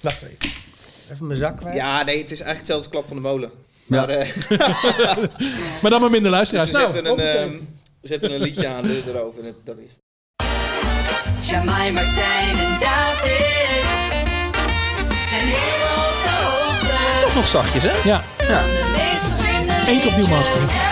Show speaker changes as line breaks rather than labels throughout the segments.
Wacht even. Even mijn zak kwijt.
Ja, nee, het is eigenlijk hetzelfde als klap van de molen.
Ja.
Maar eh, dus
Maar dan maar minder luisteraars.
we
Dus
nou,
Dus zetten, een,
hoppakee.
ehm, we zetten een liedje aan eh, erover. En dat is
Jamai, Martijn en David zijn heel op de hoogte
toch nog zachtjes, hè?
Ja,
van de meest vreemde
Eén keer opnieuw masteren.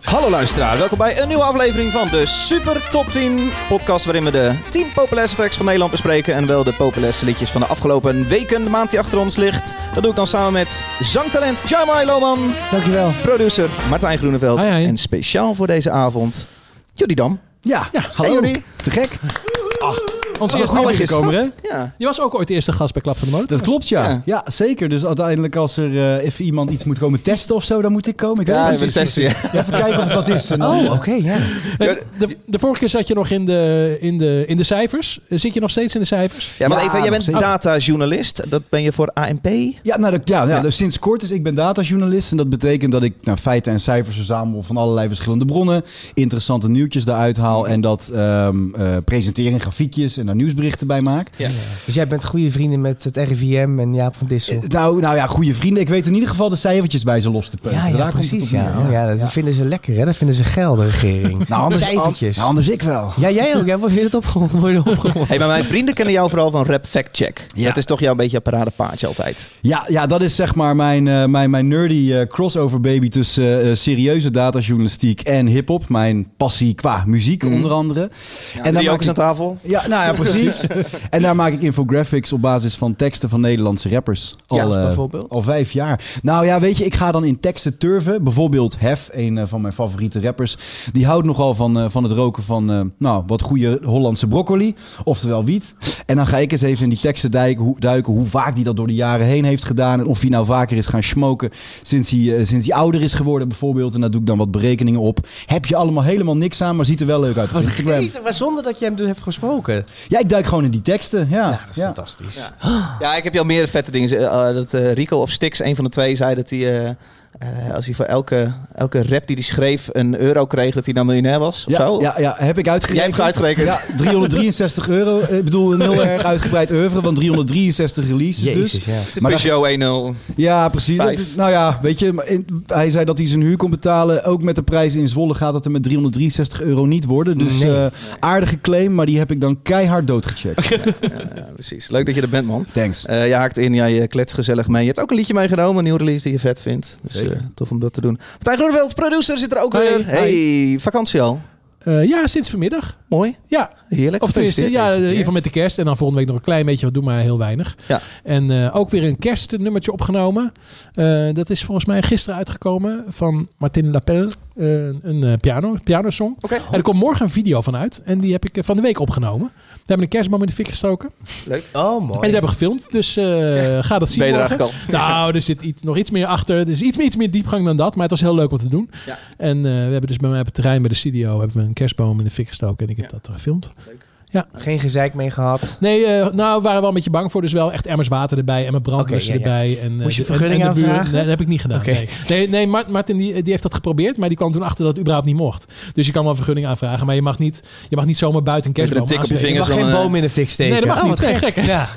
Hallo luisteraar, welkom bij een nieuwe aflevering van de Super Top 10 podcast waarin we de 10 populairste tracks van Nederland bespreken en wel de populairste liedjes van de afgelopen weken, de maand die achter ons ligt. Dat doe ik dan samen met zangtalent Jamai Loman,
Dankjewel.
producer Martijn Groeneveld
Hi, hi.
en speciaal voor deze avond Jordi Dam.
Ja,
ja hallo.
Hey Jordi.
te gek.
Ah, Onze
Zoals
gast is
allereerst
binnengekomen, hè?
gast. Ja.
Je was ook ooit de eerste gast bij Klap van de Molen.
Dat klopt, ja.
Ja.
ja. zeker. Dus uiteindelijk als er eh, even iemand iets moet komen testen of zo, dan moet ik komen. Ik weet
Ja,
niet
we
precies.
testen je.
Ja, Even kijken of het wat is. En dan-
Oh, oké, ja. En De, de vorige keer zat je nog in de, in de, in de cijfers. Zit je nog steeds in de cijfers?
Ja, maar
Ja,
even, jij
nog
bent
steeds.
datajournalist. Dat ben je voor ANP.
Ja, nou, dat, ja, ja,
Ja.
dus sinds kort is ik ben datajournalist. En dat betekent dat ik nou, feiten en cijfers verzamel van allerlei verschillende bronnen. Interessante nieuwtjes daaruit haal.
Mhm.
En dat ehm eh presenteer in grafiekjes en daar nieuwsberichten bij maak.
Dus jij bent goede vrienden met het RIVM en Jaap van Dissel.
Eh, Nou, nou ja, goede vrienden. Ik weet in ieder geval de cijfertjes bij ze los te punten.
Ja, Ah, ja,
Daar komt het op
precies.
neer.
Ja. Oh, ja, dat vinden ze lekker, hè? Dat vinden ze geil, de regering.
Nou, anders,
Cijfertjes.
nou, anders ik wel.
ja, jij ook. Jij wordt weer het opgeroepen. worden opgeroepen.
Hey, maar mijn vrienden kennen jou vooral van Rap Fact Check.
Ja.
Dat is toch jouw beetje paradepaardje altijd.
Ja, ja, dat is zeg maar mijn, eh, mijn, mijn nerdy eh, crossover baby tussen eh, eh, serieuze datajournalistiek en hip-hop. Mijn passie qua muziek,
Mhm.
onder andere.
en
daar
dan ook
maak
eens
ik-
aan tafel.
Ja, nou ja, precies. en daar maak ik infographics op basis van teksten van Nederlandse rappers. Al,
Ja,
eh,
bijvoorbeeld?
al vijf jaar. Nou ja, weet je, ik ga dan in teksten turven. Bijvoorbeeld Hef, een eh, van mijn favoriete rappers. Die houdt nogal van, eh, van het roken van eh, nou, wat goede Hollandse broccoli. Oftewel wiet. En dan ga ik eens even in die teksten duiken hoe, duiken hoe vaak hij dat door de jaren heen heeft gedaan. En of hij nou vaker is gaan smoken sinds hij, eh, sinds hij ouder is geworden bijvoorbeeld. En daar doe ik dan wat berekeningen op. Heb je allemaal helemaal niks aan, maar ziet er wel leuk uit op Instagram.
Jezus, maar zonder dat je hem dus hebt gesproken.
Ja, ik duik gewoon in die teksten. Ja, ja,
fantastisch.
Ja. Ja, ik heb je al meer vette dingen. eh, dat eh, Rico of Stix, een van de twee, zei dat hij. eh, eh, als hij voor elke, elke rap die hij schreef een euro kreeg, dat hij dan miljonair was. Of
Ja,
zo.
ja, ja, heb ik
Jij
uitgerekend.
hebt het uitgerekend.
Ja, 363 euro. Ik bedoel, een heel erg uitgebreid oeuvre, want 363 releases dus.
Jezus, ja.
Het is een
Maar
Peugeot 1-0.
Ja, precies.
Vijf.
Dat- nou ja, weet je, maar in- hij zei dat hij zijn huur kon betalen. Ook met de prijzen in Zwolle gaat dat er met 363 euro niet worden. Dus
Nee.
eh, aardige claim, maar die heb ik dan keihard doodgecheckt.
Ja, precies. Leuk dat je er bent, man.
Thanks.
Eh, je haakt in, jij eh, kletst gezellig mee. Je hebt ook een liedje meegenomen, een nieuwe release die je vet vindt. Dus
Zeker.
eh, tof om dat te doen. Martijn Groeneveld, producer, zit er ook
Hi,
weer. Hey, vakantie al.
Eh, ja, sinds vanmiddag.
Mooi,
Ja,
heerlijk.
Of tenminste, ja, eh,
Gefeliciteerd.
in ieder geval met de kerst. En dan volgende week nog een klein beetje wat doen, maar heel weinig.
Ja.
En eh, ook weer een kerstnummertje opgenomen. Eh, dat is volgens mij gisteren uitgekomen van Martin Lapelle. eh, een eh, piano, pianosong.
Oké,
En er komt morgen een video van uit. En die heb ik eh, van de week opgenomen. We hebben een kerstboom in de fik gestoken.
Oh,
En
mooi.
die hebben we gefilmd. Dus eh, ga dat zien
ben je er
morgen.
eigenlijk al.
Nou, er zit iets, nog iets meer achter. Er is iets meer, iets meer diepgang dan dat. Maar het was heel leuk om te doen.
Ja.
En eh, we hebben dus bij mij op het terrein bij de studio... hebben we een kerstboom in de fik gestoken. En ik heb
Ja.
dat eh, gefilmd.
Geen gezeik mee gehad.
Nee, eh, nou, we waren wel een beetje bang voor. Dus wel echt emmers water erbij en mijn brandblussen
Oké, ja, ja.
erbij. En, eh,
Moest je
de-
vergunning
en, en de buren.
aanvragen?
Nee, dat heb ik niet gedaan.
Oké.
Nee, nee, nee Mar- Martin die, die heeft dat geprobeerd. Maar die kwam toen achter dat het überhaupt niet mocht. Dus je kan wel vergunning aanvragen. Maar je mag niet, je mag niet zomaar buiten een
Met er
kerstboom
een tik op je
aansteken.
Je
vingers
mag
dan...
geen
eh,
boom in de fik steken.
Nee, dat mag
Oh,
niet.
wat
Nee,
gek.
gek, hè?
Ja.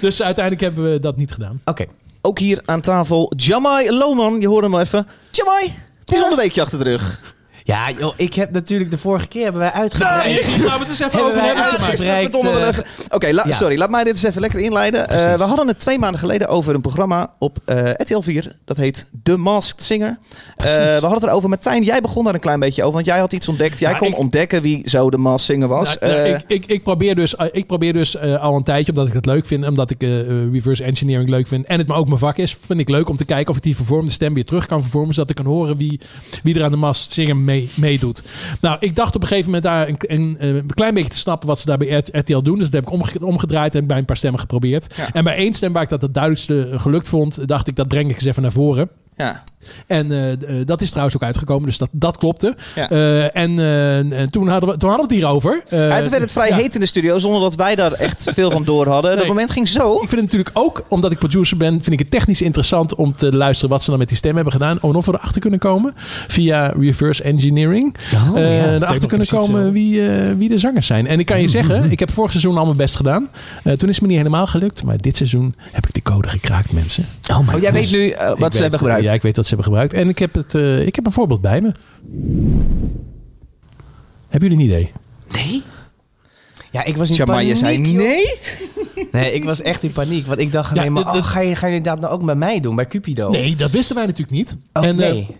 Dus uiteindelijk hebben we dat niet gedaan.
Oké.
Ook hier aan tafel Jamai Loman. Je hoort hem al even. Jamai, bijzonder weekje achter de rug.
Ja, joh, ik heb natuurlijk de vorige keer hebben wij
Daar
uitgebreid.
is-
Gaan Nou, we het eens even
Hebben
over
wij
hebben.
uitge-
gemaakt.
bereikt,
Verdomme, wel
eh,
even. Oké, la-
ja.
sorry, laat mij dit eens even lekker inleiden. Eh,
Precies.
we hadden het twee maanden geleden over een programma op eh RTL 4. Dat heet The Masked Singer. Eh, we hadden het erover. Martijn, jij begon daar een klein beetje over. Want jij had iets ontdekt. Jij
Nou,
kon
ik-
ontdekken wie zo de Masked Singer was.
Nou, nou,
Eh,
ik, ik, ik probeer dus, eh, ik probeer dus eh, al een tijdje, omdat ik het leuk vind, omdat ik eh, eh, reverse engineering leuk vind en het me ook mijn vak is, vind ik leuk om te kijken of ik die vervormde stem weer terug kan vervormen, zodat ik kan horen wie, wie er aan de mast zingen mee- meedoet. nou, ik dacht op een gegeven moment daar een, een, eh, een klein beetje te snappen wat ze daar bij RT- RTL doen. Dus dat heb ik omge- omgedraaid en heb ik bij een paar stemmen geprobeerd. En bij één stem waar ik dat het duidelijkste eh, gelukt vond, dacht ik dat breng ik eens even naar voren.
ja.
En eh, d- eh, dat is trouwens ook uitgekomen, dus dat, dat klopte.
Ja.
Eh, en eh, en toen, hadden we, toen hadden we het hierover. Eh,
Ja, toen werd het vrij
ja.
heet in de studio, zonder dat wij daar echt veel van door hadden. Dat
Nee.
moment ging zo.
Ik vind het natuurlijk ook, omdat ik producer ben, vind ik het technisch interessant om te luisteren wat ze dan met die stem hebben gedaan. Om of we erachter kunnen komen via reverse engineering.
Oh,
eh,
ja, dat
erachter
betekent
kunnen
precies, Mm-hmm.
komen
eh,
wie, eh, wie de zangers zijn. En ik kan je zeggen, ik heb vorig seizoen al mijn best gedaan. Eh, toen is het me niet helemaal gelukt. Maar dit seizoen heb ik de code gekraakt, mensen.
Oh, my
Oh, jij
God.
weet nu eh, wat
Ik
ze
weet-
hebben gebruikt.
Ja, ik weet wat ze hebben gebruikt. En ik heb, het, eh, ik heb een voorbeeld bij me. Hebben jullie een idee?
Nee?
Ja, ik was in
Tja, maar
paniek.
je zei
joh.
nee.
Nee, ik was echt in paniek. Want ik dacht
Ja,
alleen maar,
dit- dit-
oh, ga je, ga je dat nou ook bij mij doen? Bij Cupido?
Nee, dat wisten wij natuurlijk niet.
Oh,
en, eh,
nee.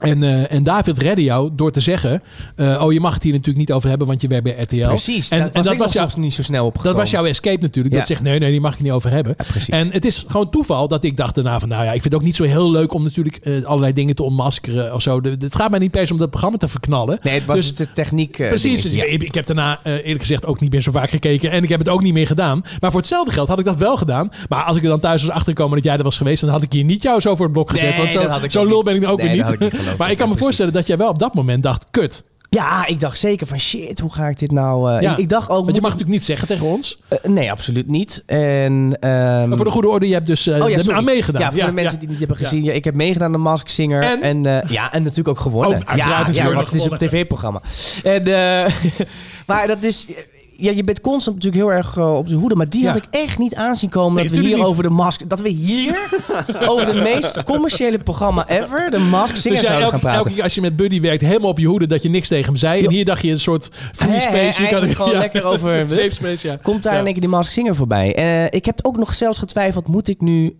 En, eh, en David redde jou door te zeggen: eh, Oh, je mag het hier natuurlijk niet over hebben, want je werkt bij RTL.
Precies.
En
dat, was
dat
ik nog
was jou-
zelfs niet zo snel opgekomen.
Dat was jouw escape natuurlijk. Dat
Ja.
zegt: Nee, nee, die mag ik niet over hebben.
Ja, precies.
En het is gewoon toeval dat ik dacht daarna van, nou ja, ik vind het ook niet zo heel leuk om natuurlijk eh, allerlei dingen te onmaskeren of zo. De- de- Het gaat mij niet per se om dat programma te verknallen.
Nee, het was
Dus-
de techniek. eh,
Precies.
dingetje.
dus ik, ik heb daarna eh, eerlijk gezegd ook niet meer zo vaak gekeken. En ik heb het ook niet meer gedaan. Maar voor hetzelfde geld had ik dat wel gedaan. Maar als ik er dan thuis was achtergekomen dat jij er was geweest, dan had ik hier niet jou zo voor het blok gezet.
Nee,
want zo,
dat had ik
zo
ook
lul
niet.
ben ik ook
Nee, dat
weer niet.
had ik niet geloofd.
maar ik
Ja,
kan me
precies.
voorstellen dat jij wel op dat moment dacht, kut.
Ja, ik dacht zeker van shit, hoe ga ik dit nou... eh,
Ja.
ik, ik dacht ook...
Want je
moet
mag natuurlijk niet zeggen tegen ons.
ik- eh, nee, absoluut niet. En, ehm,
Maar voor de goede orde, je hebt dus eh,
oh ja,
er
sorry.
aan meegedaan.
Ja, voor de mensen die het niet hebben gezien. Ja, ik heb meegedaan aan de Mask Singer.
En?
En, eh, ja, en natuurlijk ook gewonnen.
Oh, uiteraard
ja, ja,
natuurlijk
want het is een
gewonnen.
tv-programma. En, eh, maar dat is... Ja, je bent constant natuurlijk heel erg eh, op de hoede. Maar die
Ja.
had ik echt niet aanzien komen.
Nee,
dat we hier
tuurlijk niet.
over de Mask... Dat we hier over het meest commerciële programma ever... De Mask Singer
Dus jij
zouden
elke,
gaan praten.
elke keer als je met Buddy werkt, helemaal op je hoede dat je niks tegen hem zei. En hier dacht je een soort
Hè,
free
hè,
space. je
eigenlijk gewoon lekker over-
Safe space, ja.
Komt daar
Ja.
in één keer die Mask Singer voorbij? Eh, ik heb ook nog zelfs getwijfeld: moet ik nu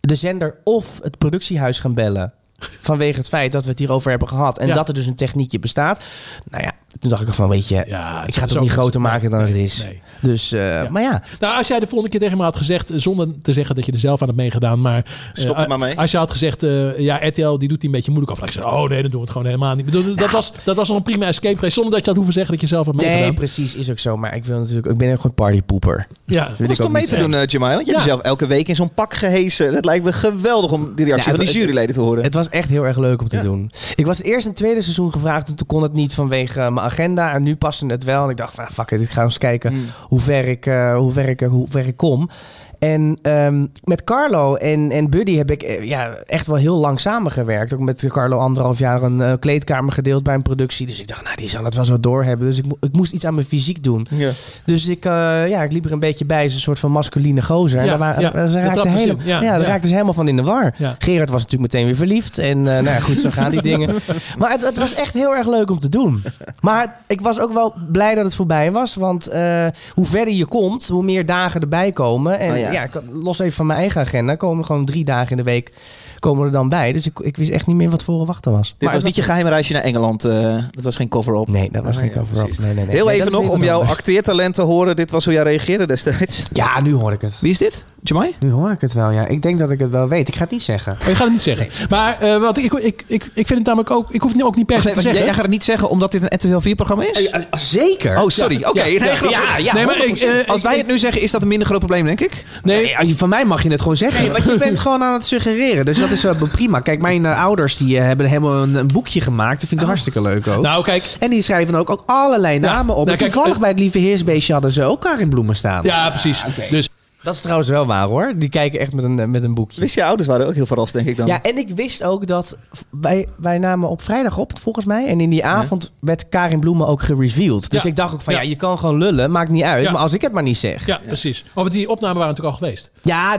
de zender of het productiehuis gaan bellen? Vanwege het feit dat we het hierover hebben gehad. En
Ja.
dat er dus een techniekje bestaat. Nou ja, toen dacht ik van, weet je,
Ja,
ik ga het
zo-
ook niet
zo-
groter maken dan het is.
Nee.
Dus, eh, maar ja.
Nou, als jij de volgende keer tegen me had gezegd, eh, zonder te zeggen dat je er zelf aan hebt meegedaan, maar... eh,
Stop er
a-
maar mee.
Als je had gezegd, eh, ja, RTL, die doet die een beetje moeilijk af. Dan had ik gezegd, oh nee, dan doen we het gewoon helemaal niet. Ik Bedoel, dat, was, dat was nog een prima escape geweest, zonder dat je had hoeven zeggen dat je zelf had meegedaan.
Nee, precies, is ook zo. Maar ik wil natuurlijk, ik ben ook gewoon partypoeper.
ja.
Dat was
ik
toch
ook
mee
niet
te doen, eh Jamai? Want je hebt
Ja.
jezelf elke week in zo'n pak gehesen. Dat lijkt me geweldig om die reactie
Ja,
van
het-
die juryleden te horen.
Het was echt heel erg leuk om te
Ja.
doen. Ik was het eerst een tweede seizoen gevraagd en toen kon het niet vanwege eh, mijn agenda. En nu paste het wel. En ik dacht van, ah, fuck it, ik ga eens kijken
Hmm.
hoe, ver ik, eh, hoe, ver ik, hoe ver ik kom. En ehm, met Carlo en, en Buddy heb ik eh, ja, echt wel heel lang samengewerkt. Ook met Carlo anderhalf jaar een eh, kleedkamer gedeeld bij een productie. Dus ik dacht, nou, die zal het wel zo doorhebben. Dus ik, mo- ik moest iets aan mijn fysiek doen.
Ja.
Dus ik, eh, ja, ik liep er een beetje bij als een soort van masculine gozer. En
Ja,
daar waren,
ja,
ze
dat
raakten
trapte ze in.
helemaal,
Ja,
ja, daar
ja.
raakten ze helemaal van in de war.
Ja.
Gerard was natuurlijk meteen weer verliefd. En eh, nou ja, goed, zo gaan die dingen. Maar het, het was echt heel erg leuk om te doen. Maar ik was ook wel blij dat het voorbij was. Want eh, hoe verder je komt, hoe meer dagen erbij komen. En
Oh ja.
ja. ik- los even van mijn eigen agenda, komen gewoon drie dagen in de week komen er dan bij. Dus ik, ik wist echt niet meer wat voor me wachten was.
Dit was niet je geheime reisje naar Engeland. eh, dat was geen cover-up.
Nee, dat was
Ah,
geen
ja,
cover-up.
precies.
Nee, nee, nee.
Heel
Nee,
even
dat
nog
is weer
om
wat
jouw
anders.
acteertalent te horen. Dit was hoe jij reageerde destijds.
Ja, nu hoor ik het.
Wie is dit? Jamai?
Nu hoor ik het wel, ja. Ik denk dat ik het wel weet. Ik ga het niet zeggen.
Oh, je gaat het niet zeggen. Maar eh, wat, ik, ik, ik, ik vind het namelijk ook... Ik hoef het nu ook niet per se te zeggen.
gaat het niet zeggen omdat dit een RTL 4-programma is?
Eh, Zeker.
Oh, sorry. Oké.
Ja, ja,
nee, grap.
ja, ja.
nee, maar ik, eh,
Als
ik-
wij
ik-
het nu zeggen, is dat een minder groot probleem, denk ik.
nee,
Nee, als je- van mij mag je het gewoon zeggen. want je bent gewoon aan het suggereren. Dus dat is wel prima. Kijk, mijn eh, ouders die, eh, hebben helemaal een, een boekje gemaakt. Dat vind ik hartstikke leuk ook.
nou kijk...
en die schrijven ook, ook allerlei namen op.
nou,
En
kijk,
toevallig
eh,
bij het Lieve Heersbeestje hadden ze ook Karin Bloemen staan.
Ja,
Ah,
precies. Dus
Dat is trouwens wel waar hoor. Die kijken echt met een, eh, met een boekje.
Wist je ouders waren ook heel verrast, denk ik dan.
Ja, en ik wist ook dat v- wij, wij namen op vrijdag op, volgens mij. En in die avond werd Karin Bloemen ook gereveeld. Dus
Ja.
ik dacht ook van,
Ja.
ja. je kan gewoon lullen, maakt niet uit.
Ja.
Maar als ik het maar niet zeg. Ja,
ja, precies. Oh, want die opnamen waren natuurlijk al geweest.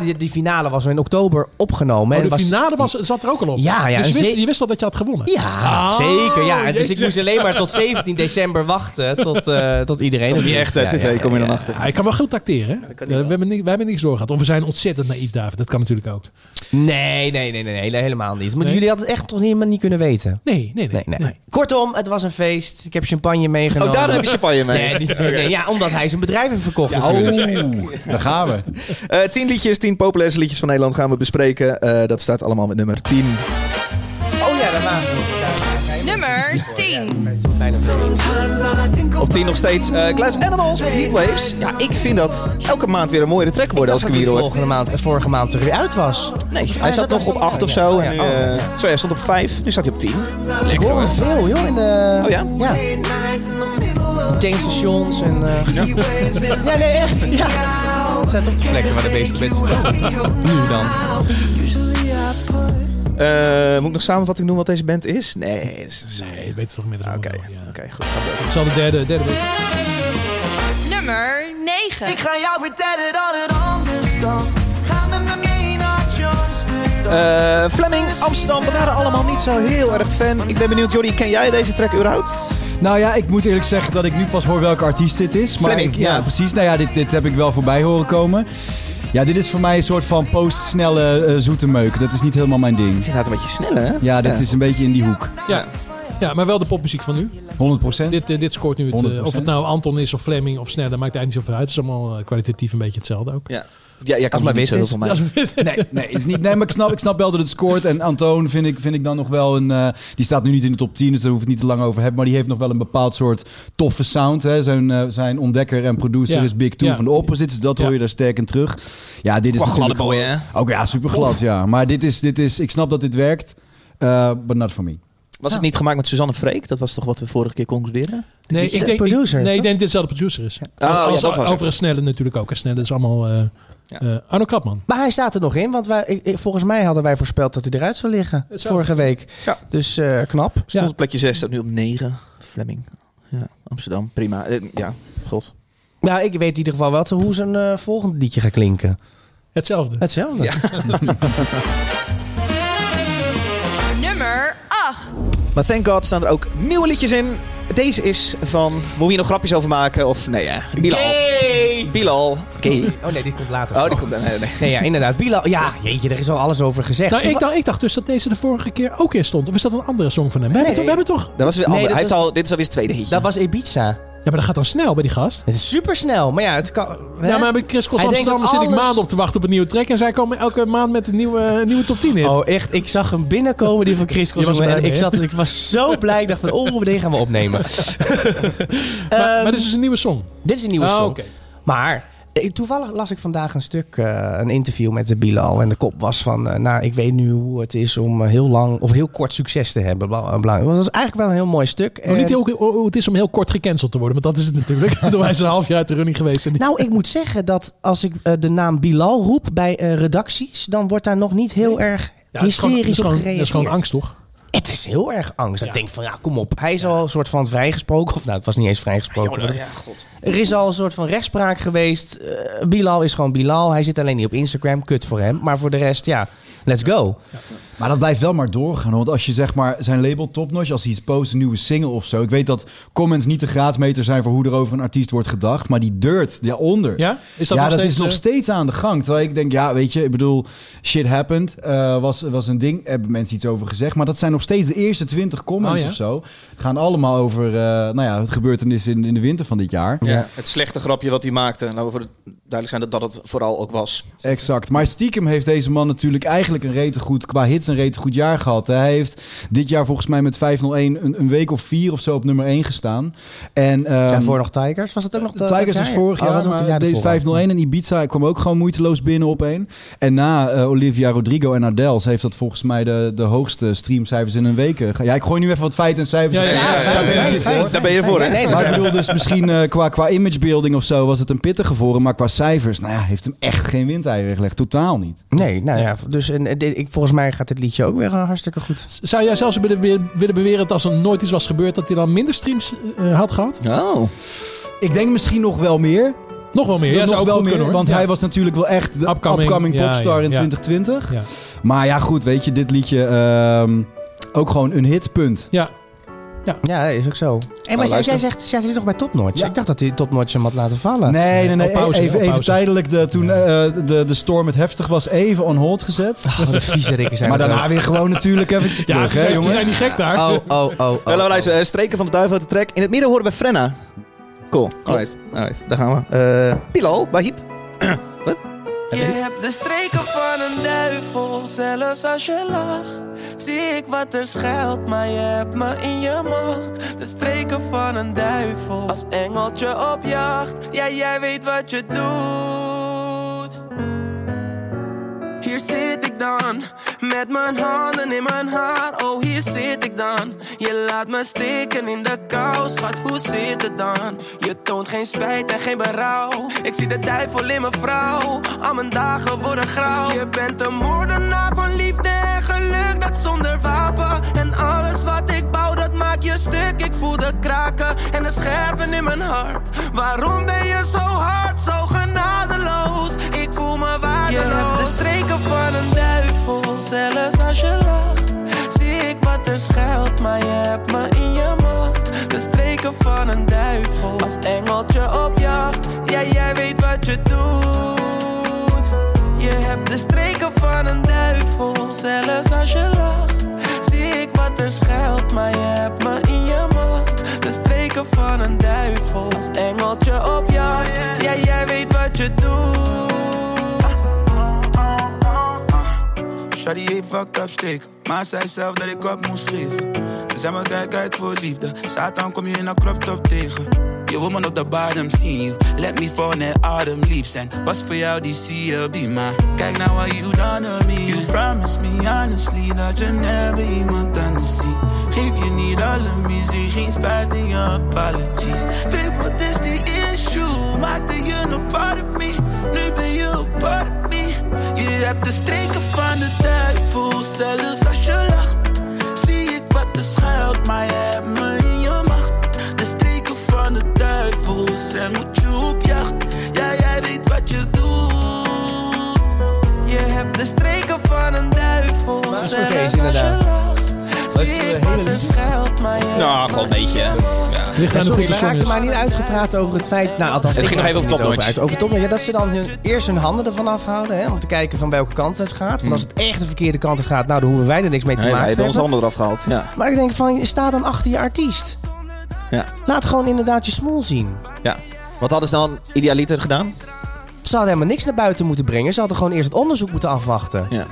die, die finale was in oktober opgenomen.
Maar
en
de
was,
finale was, zat er ook al op.
Ja, ja,
dus je
en
wist,
ze-
je wist al dat je had gewonnen.
Ja,
Ah,
zeker. Ja. Dus ik
jeetje.
moest alleen maar tot 17 december wachten tot, eh, tot iedereen...
Tot
het
die
wist.
echte
Ja,
tv
ja,
kom je
ja.
dan achter.
Ja, ik kan wel goed tacteren.
kan
hè? Eh,
hij
we,
wel.
hebben ni- wij hebben niks doorgehad. Of we zijn ontzettend naïef, David. Dat kan natuurlijk ook.
Nee, nee, nee, nee, nee, helemaal niet. Maar
Nee?
jullie hadden het echt toch helemaal niet kunnen weten.
Nee, nee, nee.
Nee, nee. Kortom, het was een feest. Ik heb champagne meegenomen.
Oh, daarom heb je champagne mee.
Nee, niet- nee, nee, ja, omdat hij zijn bedrijf heeft verkocht natuurlijk.
Oh, daar gaan we.
Eh, tien liedjes, tien populairste liedjes van Nederland gaan we bespreken. Eh, dat staat allemaal met nummer 10.
Oh ja, dat waren we.
Nummer 10.
Bijna.
Sometimes all I think of
Op 10 nog steeds eh Glass Animals met Heatwaves. Ja, ik vind dat elke maand weer een mooiere track worden als ik hem hier hoor.
Volgende maand, vorige maand er weer uit was.
Nee, hij zat nog op 8 of zo. En nu, eh, sorry, hij stond op 5. Nu staat hij op 10.
Oh, Ik hoor hem veel, joh. In de,
Oh ja?
Ja. Tankstations en... eh, ja, nee, echt. Ja. Het zijn toch de plekken waar de meeste mensen Nu dan.
Ah, Eh, moet ik nog samenvatting doen wat deze band is? Nee. dat is- Oké,
Nee, dat weten ze toch minder.
oké, goed. Ga door.
Het zal de derde, derde week.
Nummer 9.
Ik ga jou vertellen dat het anders kan. Ga met me mee naar Charleston.
Eh, Fleming, Amsterdam, we waren allemaal niet zo heel erg fan. Ik ben benieuwd, Jordi, ken jij deze track überhaupt?
Nou ja, ik moet eerlijk zeggen dat ik nu pas hoor welke artiest dit is. Maar
Fleming,
ik- ja,
ja.
precies. Nou ja, dit, dit heb ik wel voorbij horen komen. Ja, dit is voor mij een soort van post-snelle eh, zoete meuk. Dat is niet helemaal mijn
Het
ding.
is inderdaad een beetje snel, hè?
Ja, dit is een beetje in die hoek.
Ja. ja, maar wel de popmuziek van nu.
100%.
Dit, eh, dit scoort nu het. eh,
100%.
of het nou Anton is of Fleming of Snell, dat maakt eigenlijk niet zoveel uit. Het is allemaal eh, kwalitatief een beetje hetzelfde ook.
Ja, ja jij kan
maar
maar niet
wit
zo heel
is.
veel mij.
Nee, nee, het is niet, nee maar ik snap, ik snap wel dat het scoort. En Antoon vind ik, vind ik dan nog wel een... eh, die staat nu niet in de top 10, dus daar hoef ik het niet te lang over te hebben. Maar die heeft nog wel een bepaald soort toffe sound. Hè. Zijn, eh, zijn ontdekker en producer
Ja.
is Big Two
Ja.
van de Opposites. dus Dat hoor
Ja.
je daar sterk in terug. Ja, dit is
Qua
natuurlijk
gladde boy,
gewoon-
hè?
Ook ja, super glad, ja. Maar dit is, dit is... Ik snap dat dit werkt. eh but not for me.
Was het niet gemaakt met Suzanne Freek? Dat was toch wat we vorige keer concludeerden?
Nee, ik denk,
Producer,
ik, nee,
toch?
ik denk dat dit dezelfde producer is.
Oh,
ja,
Als-
dat was het.
Overigens Snelle natuurlijk ook. En Snelle is allemaal eh,
Ja.
eh, Arno Krapman.
Maar hij staat er nog in, want wij, ik- ik- volgens mij hadden wij voorspeld dat hij eruit zou liggen
Het zou-
vorige week.
Ja.
Dus eh, knap.
Stond
Ja.
op plekje 6, staat nu op 9. Fleming. Ja, Amsterdam, prima. Eh, ja, god.
Nou, ik weet in ieder geval wel te- hoe zijn eh volgende liedje gaat klinken.
Hetzelfde.
Hetzelfde.
Nummer 8.
Maar thank god staan er ook nieuwe liedjes in. Deze is van... Wil je nog grapjes over maken? Of nee, ja. Bilal. Bilal. Oké.
Oh nee, die komt later.
Oh, die komt... Nee, nee.
Nee, ja, inderdaad. Bilal. Ja, jeetje, er is al alles over gezegd.
Nou, ik
Wa-
dacht, ik dacht dus dat deze de vorige keer ook in stond. Of is dat een andere song van hem? We,
Nee.
hebben, toch- we hebben toch...
Dat was weer
Nee,
ander.
dat
Hij heeft
was-
al, dit is alweer het tweede hitje.
dat was Ibiza.
Ja, maar dat gaat dan snel bij die gast.
Het is supersnel, maar ja, het kan... hè?
Ja, maar bij Chris Cross
Hij
Amsterdam
denkt
zit
dat
ik
alles-
maanden op te wachten op een nieuwe track. En zij komen elke maand met een nieuwe, een nieuwe top 10 hit.
Oh, echt. Ik zag hem binnenkomen, die van Chris
Je was
Cross.
blij
En
mee,
ik,
hè?
zat, ik was zo blij. Ik dacht van, oh, deze gaan we opnemen.
maar,
Ehm,
maar dit is dus een nieuwe song.
Dit is een nieuwe
Ah,
song.
oké.
Maar eh, toevallig las ik vandaag een stuk, eh, een interview met de Bilal. En de kop was van, eh, nou, ik weet nu hoe het is om eh, heel lang of heel kort succes te hebben. Bla, bla, bla. Dat was eigenlijk wel een heel mooi stuk.
Maar niet
En-
heel, oh, oh, het is om heel kort gecanceld te worden, want dat is het natuurlijk. Door hij is een half jaar uit de running geweest. En die-
Nou, ik moet zeggen dat als ik eh, de naam Bilal roep bij eh, redacties, dan wordt daar nog niet heel erg
Ja, dat is gewoon- dat is
hysterisch op
gewoon-
gereageerd.
Dat is gewoon angst, toch?
Het is heel erg angst. Ik
Ja.
denk van, ja, kom op. Hij is al een soort van vrijgesproken. Of nou, het was niet eens vrijgesproken. maar
Ja, god.
Er is al een soort van rechtspraak geweest. Eh, Bilal is gewoon Bilal. Hij zit alleen niet op Instagram. Kut voor hem. Maar voor de rest, ja, let's go.
Maar dat blijft wel maar doorgaan. Want als je zeg maar zijn label topnotch, als hij iets post, een nieuwe single of zo. Ik weet dat comments niet de graadmeter zijn voor hoe er over een artiest wordt gedacht. Maar die dirt daaronder.
Ja? Is dat
ja,
nog
dat
steeds,
is nog
eh,
steeds aan de gang. Terwijl ik denk, ja, weet je, ik bedoel, shit happened. eh, was, was een ding, hebben mensen iets over gezegd. Maar dat zijn nog steeds de eerste twintig comments
Oh, ja?
of zo. Het gaan allemaal over, eh, nou ja, het gebeurtenis in, in de winter van dit jaar.
Ja. Het slechte grapje wat hij maakte. Laten we voor de- duidelijk zijn dat dat het vooral ook was.
Exact. Maar stiekem heeft deze man natuurlijk eigenlijk een rete goed, qua hits een rete goed jaar gehad. Hij heeft dit jaar volgens mij met 501 een, een week of vier of zo op nummer 1 gestaan. En, ehm,
en voor nog Tigers? Was dat Oh, ook nog de,
Tigers was vorig
Ah,
jaar, maar deze 501 en Ibiza kwam ook gewoon moeiteloos binnen op één. En na eh, Olivia Rodrigo en Adele heeft dat volgens mij de, de hoogste streamcijfers in een week. eh, ge- Ja, ik gooi nu even wat feiten en cijfers.
Ja, ja, ja, ja, ja,
Daar ben ik
ja,
hier
ja,
voor.
ja.
Daar ben je voor, hè?
Nee,
Maar ik bedoel dus misschien eh, qua, qua imagebuilding of zo was het een pittige voor hem. Maar qua cijfers, nou ja, heeft hem echt geen windeieren gelegd. Totaal niet.
nee, nou ja. Dus en, en dit- ik, volgens mij gaat dit liedje ook weer eh, hartstikke goed.
Zou jij zelfs willen be- willen beweren dat als er nooit iets was gebeurd, dat hij dan minder streams eh, had gehad?
Oh.
Ik denk misschien nog wel meer.
Nog wel meer. Ja,
nog
zou ook
wel
goed
meer,
kunnen hoor.
want
Ja.
hij was natuurlijk wel echt de
Upcoming,
upcoming,
ja,
popstar
ja,
in
ja.
2020.
Ja.
Maar ja, goed, weet je, dit liedje ehm, ook gewoon een hitpunt.
Ja.
Ja, is ook zo. En maar jij
luister.
zegt, ja, het is nog bij Topnotch.
Ja.
Ik dacht dat hij Topnotch hem had laten vallen.
Nee, nee, nee.
op pauze,
even,
op
even
pauze.
tijdelijk, de, toen
Ja.
eh, de, de storm het heftig was, even on hold gezet.
Oh, wat een vieze rikken zijn
maar
het
daarna weer gewoon natuurlijk eventjes
Ja,
terug,
ze
hè,
zijn, ze
jongens?
zijn niet gek daar.
wel. Oh, oh, oh. oh,
Hallo,
oh.
luister. eh, streken van de duivel uit de trek. In het midden horen we Frenna. Cool. Alright. Alright. Daar gaan we. Eh Bilal, Bahib.
Je hebt de streken van een een duivel, zelfs als je lacht. Zie ik wat er schuilt, maar je hebt me in je macht. De streken van een duivel, als engeltje op jacht. Ja, jij weet wat je doet. Hier zit ik dan, met mijn handen in mijn haar. Oh, hier zit ik dan. Je laat me steken in de kou, schat, hoe zit het dan? Je toont geen spijt en geen berouw. Ik zie de duivel in mijn vrouw, al mijn dagen worden grauw. Je bent een moordenaar van liefde en geluk, dat zonder wapen. En alles wat ik bouw, dat maak je stuk. Ik voel de kraken en de scherven in mijn hart. Waarom ben je zo hard, zo genadeloos? Ik voel me waardeloos. Je hebt de streken van een duivel, zelfs als je lacht. Zie ik wat er schuilt, maar je hebt me in je macht. De streken van een duivel, als engeltje op jacht. Ja, jij weet wat je doet. Je hebt de streken van een duivel, zelfs als je lacht. Zie ik wat er schuilt, maar je hebt me in je macht. De streken van een duivel, als engeltje op jacht. Ja, jij weet wat je doet.
Shawty heeft fucked up streken. Maar zei zelf dat ik op moest geven. Ze zei me kijk uit voor liefde. Satan kom je in een crop top tegen. Je woman op de bottom zien you. Let me fall net autumn leaves. En was voor jou die CLB maar. Kijk nou what you done to me. You promised me honestly dat je never iemand anders ziet. Geef je niet alle muziek, geen spijt in je apologies. Babe, what is the issue? Maakte je een part of me? Nu ben je een part of me. Je hebt de streken van de duivel, zelfs als je lacht. Zie ik wat er schuilt, maar je hebt me in je macht. De streken van de duivel, zijn moet je op jacht. Ja, jij weet wat je doet.
Je hebt de streken van een duivel. Maar
is oké, is inderdaad.
is
Zie
het
ik
hele
wat er
liedje?
schuilt, maar je
Nou,
hebt
gewoon
me
een beetje.
in je macht.
Ja.
Ligt aan hoe
sorry, we
goed de song
raakten
is.
maar niet uitgepraat over het feit... Nou, althans,
Het
ik
ging nog
raakte
even op
er niet
topnotch.
Over, uit, over topnotch. Ja, dat ze dan hun, eerst hun handen ervan afhouden. Hè, om te kijken van welke kant het gaat.
Hmm.
Want als het echt de verkeerde kant op gaat, nou, dan hoeven wij er niks mee te
Hij
maken
heeft
te
ons
hebben.
handen eraf gehaald. Ja.
Maar ik denk van, sta dan achter je artiest.
Ja.
Laat gewoon inderdaad je smoel zien.
Ja. Wat hadden ze dan idealiter gedaan?
Ze hadden helemaal niks naar buiten moeten brengen. Ze hadden gewoon eerst het onderzoek moeten afwachten.
Ja.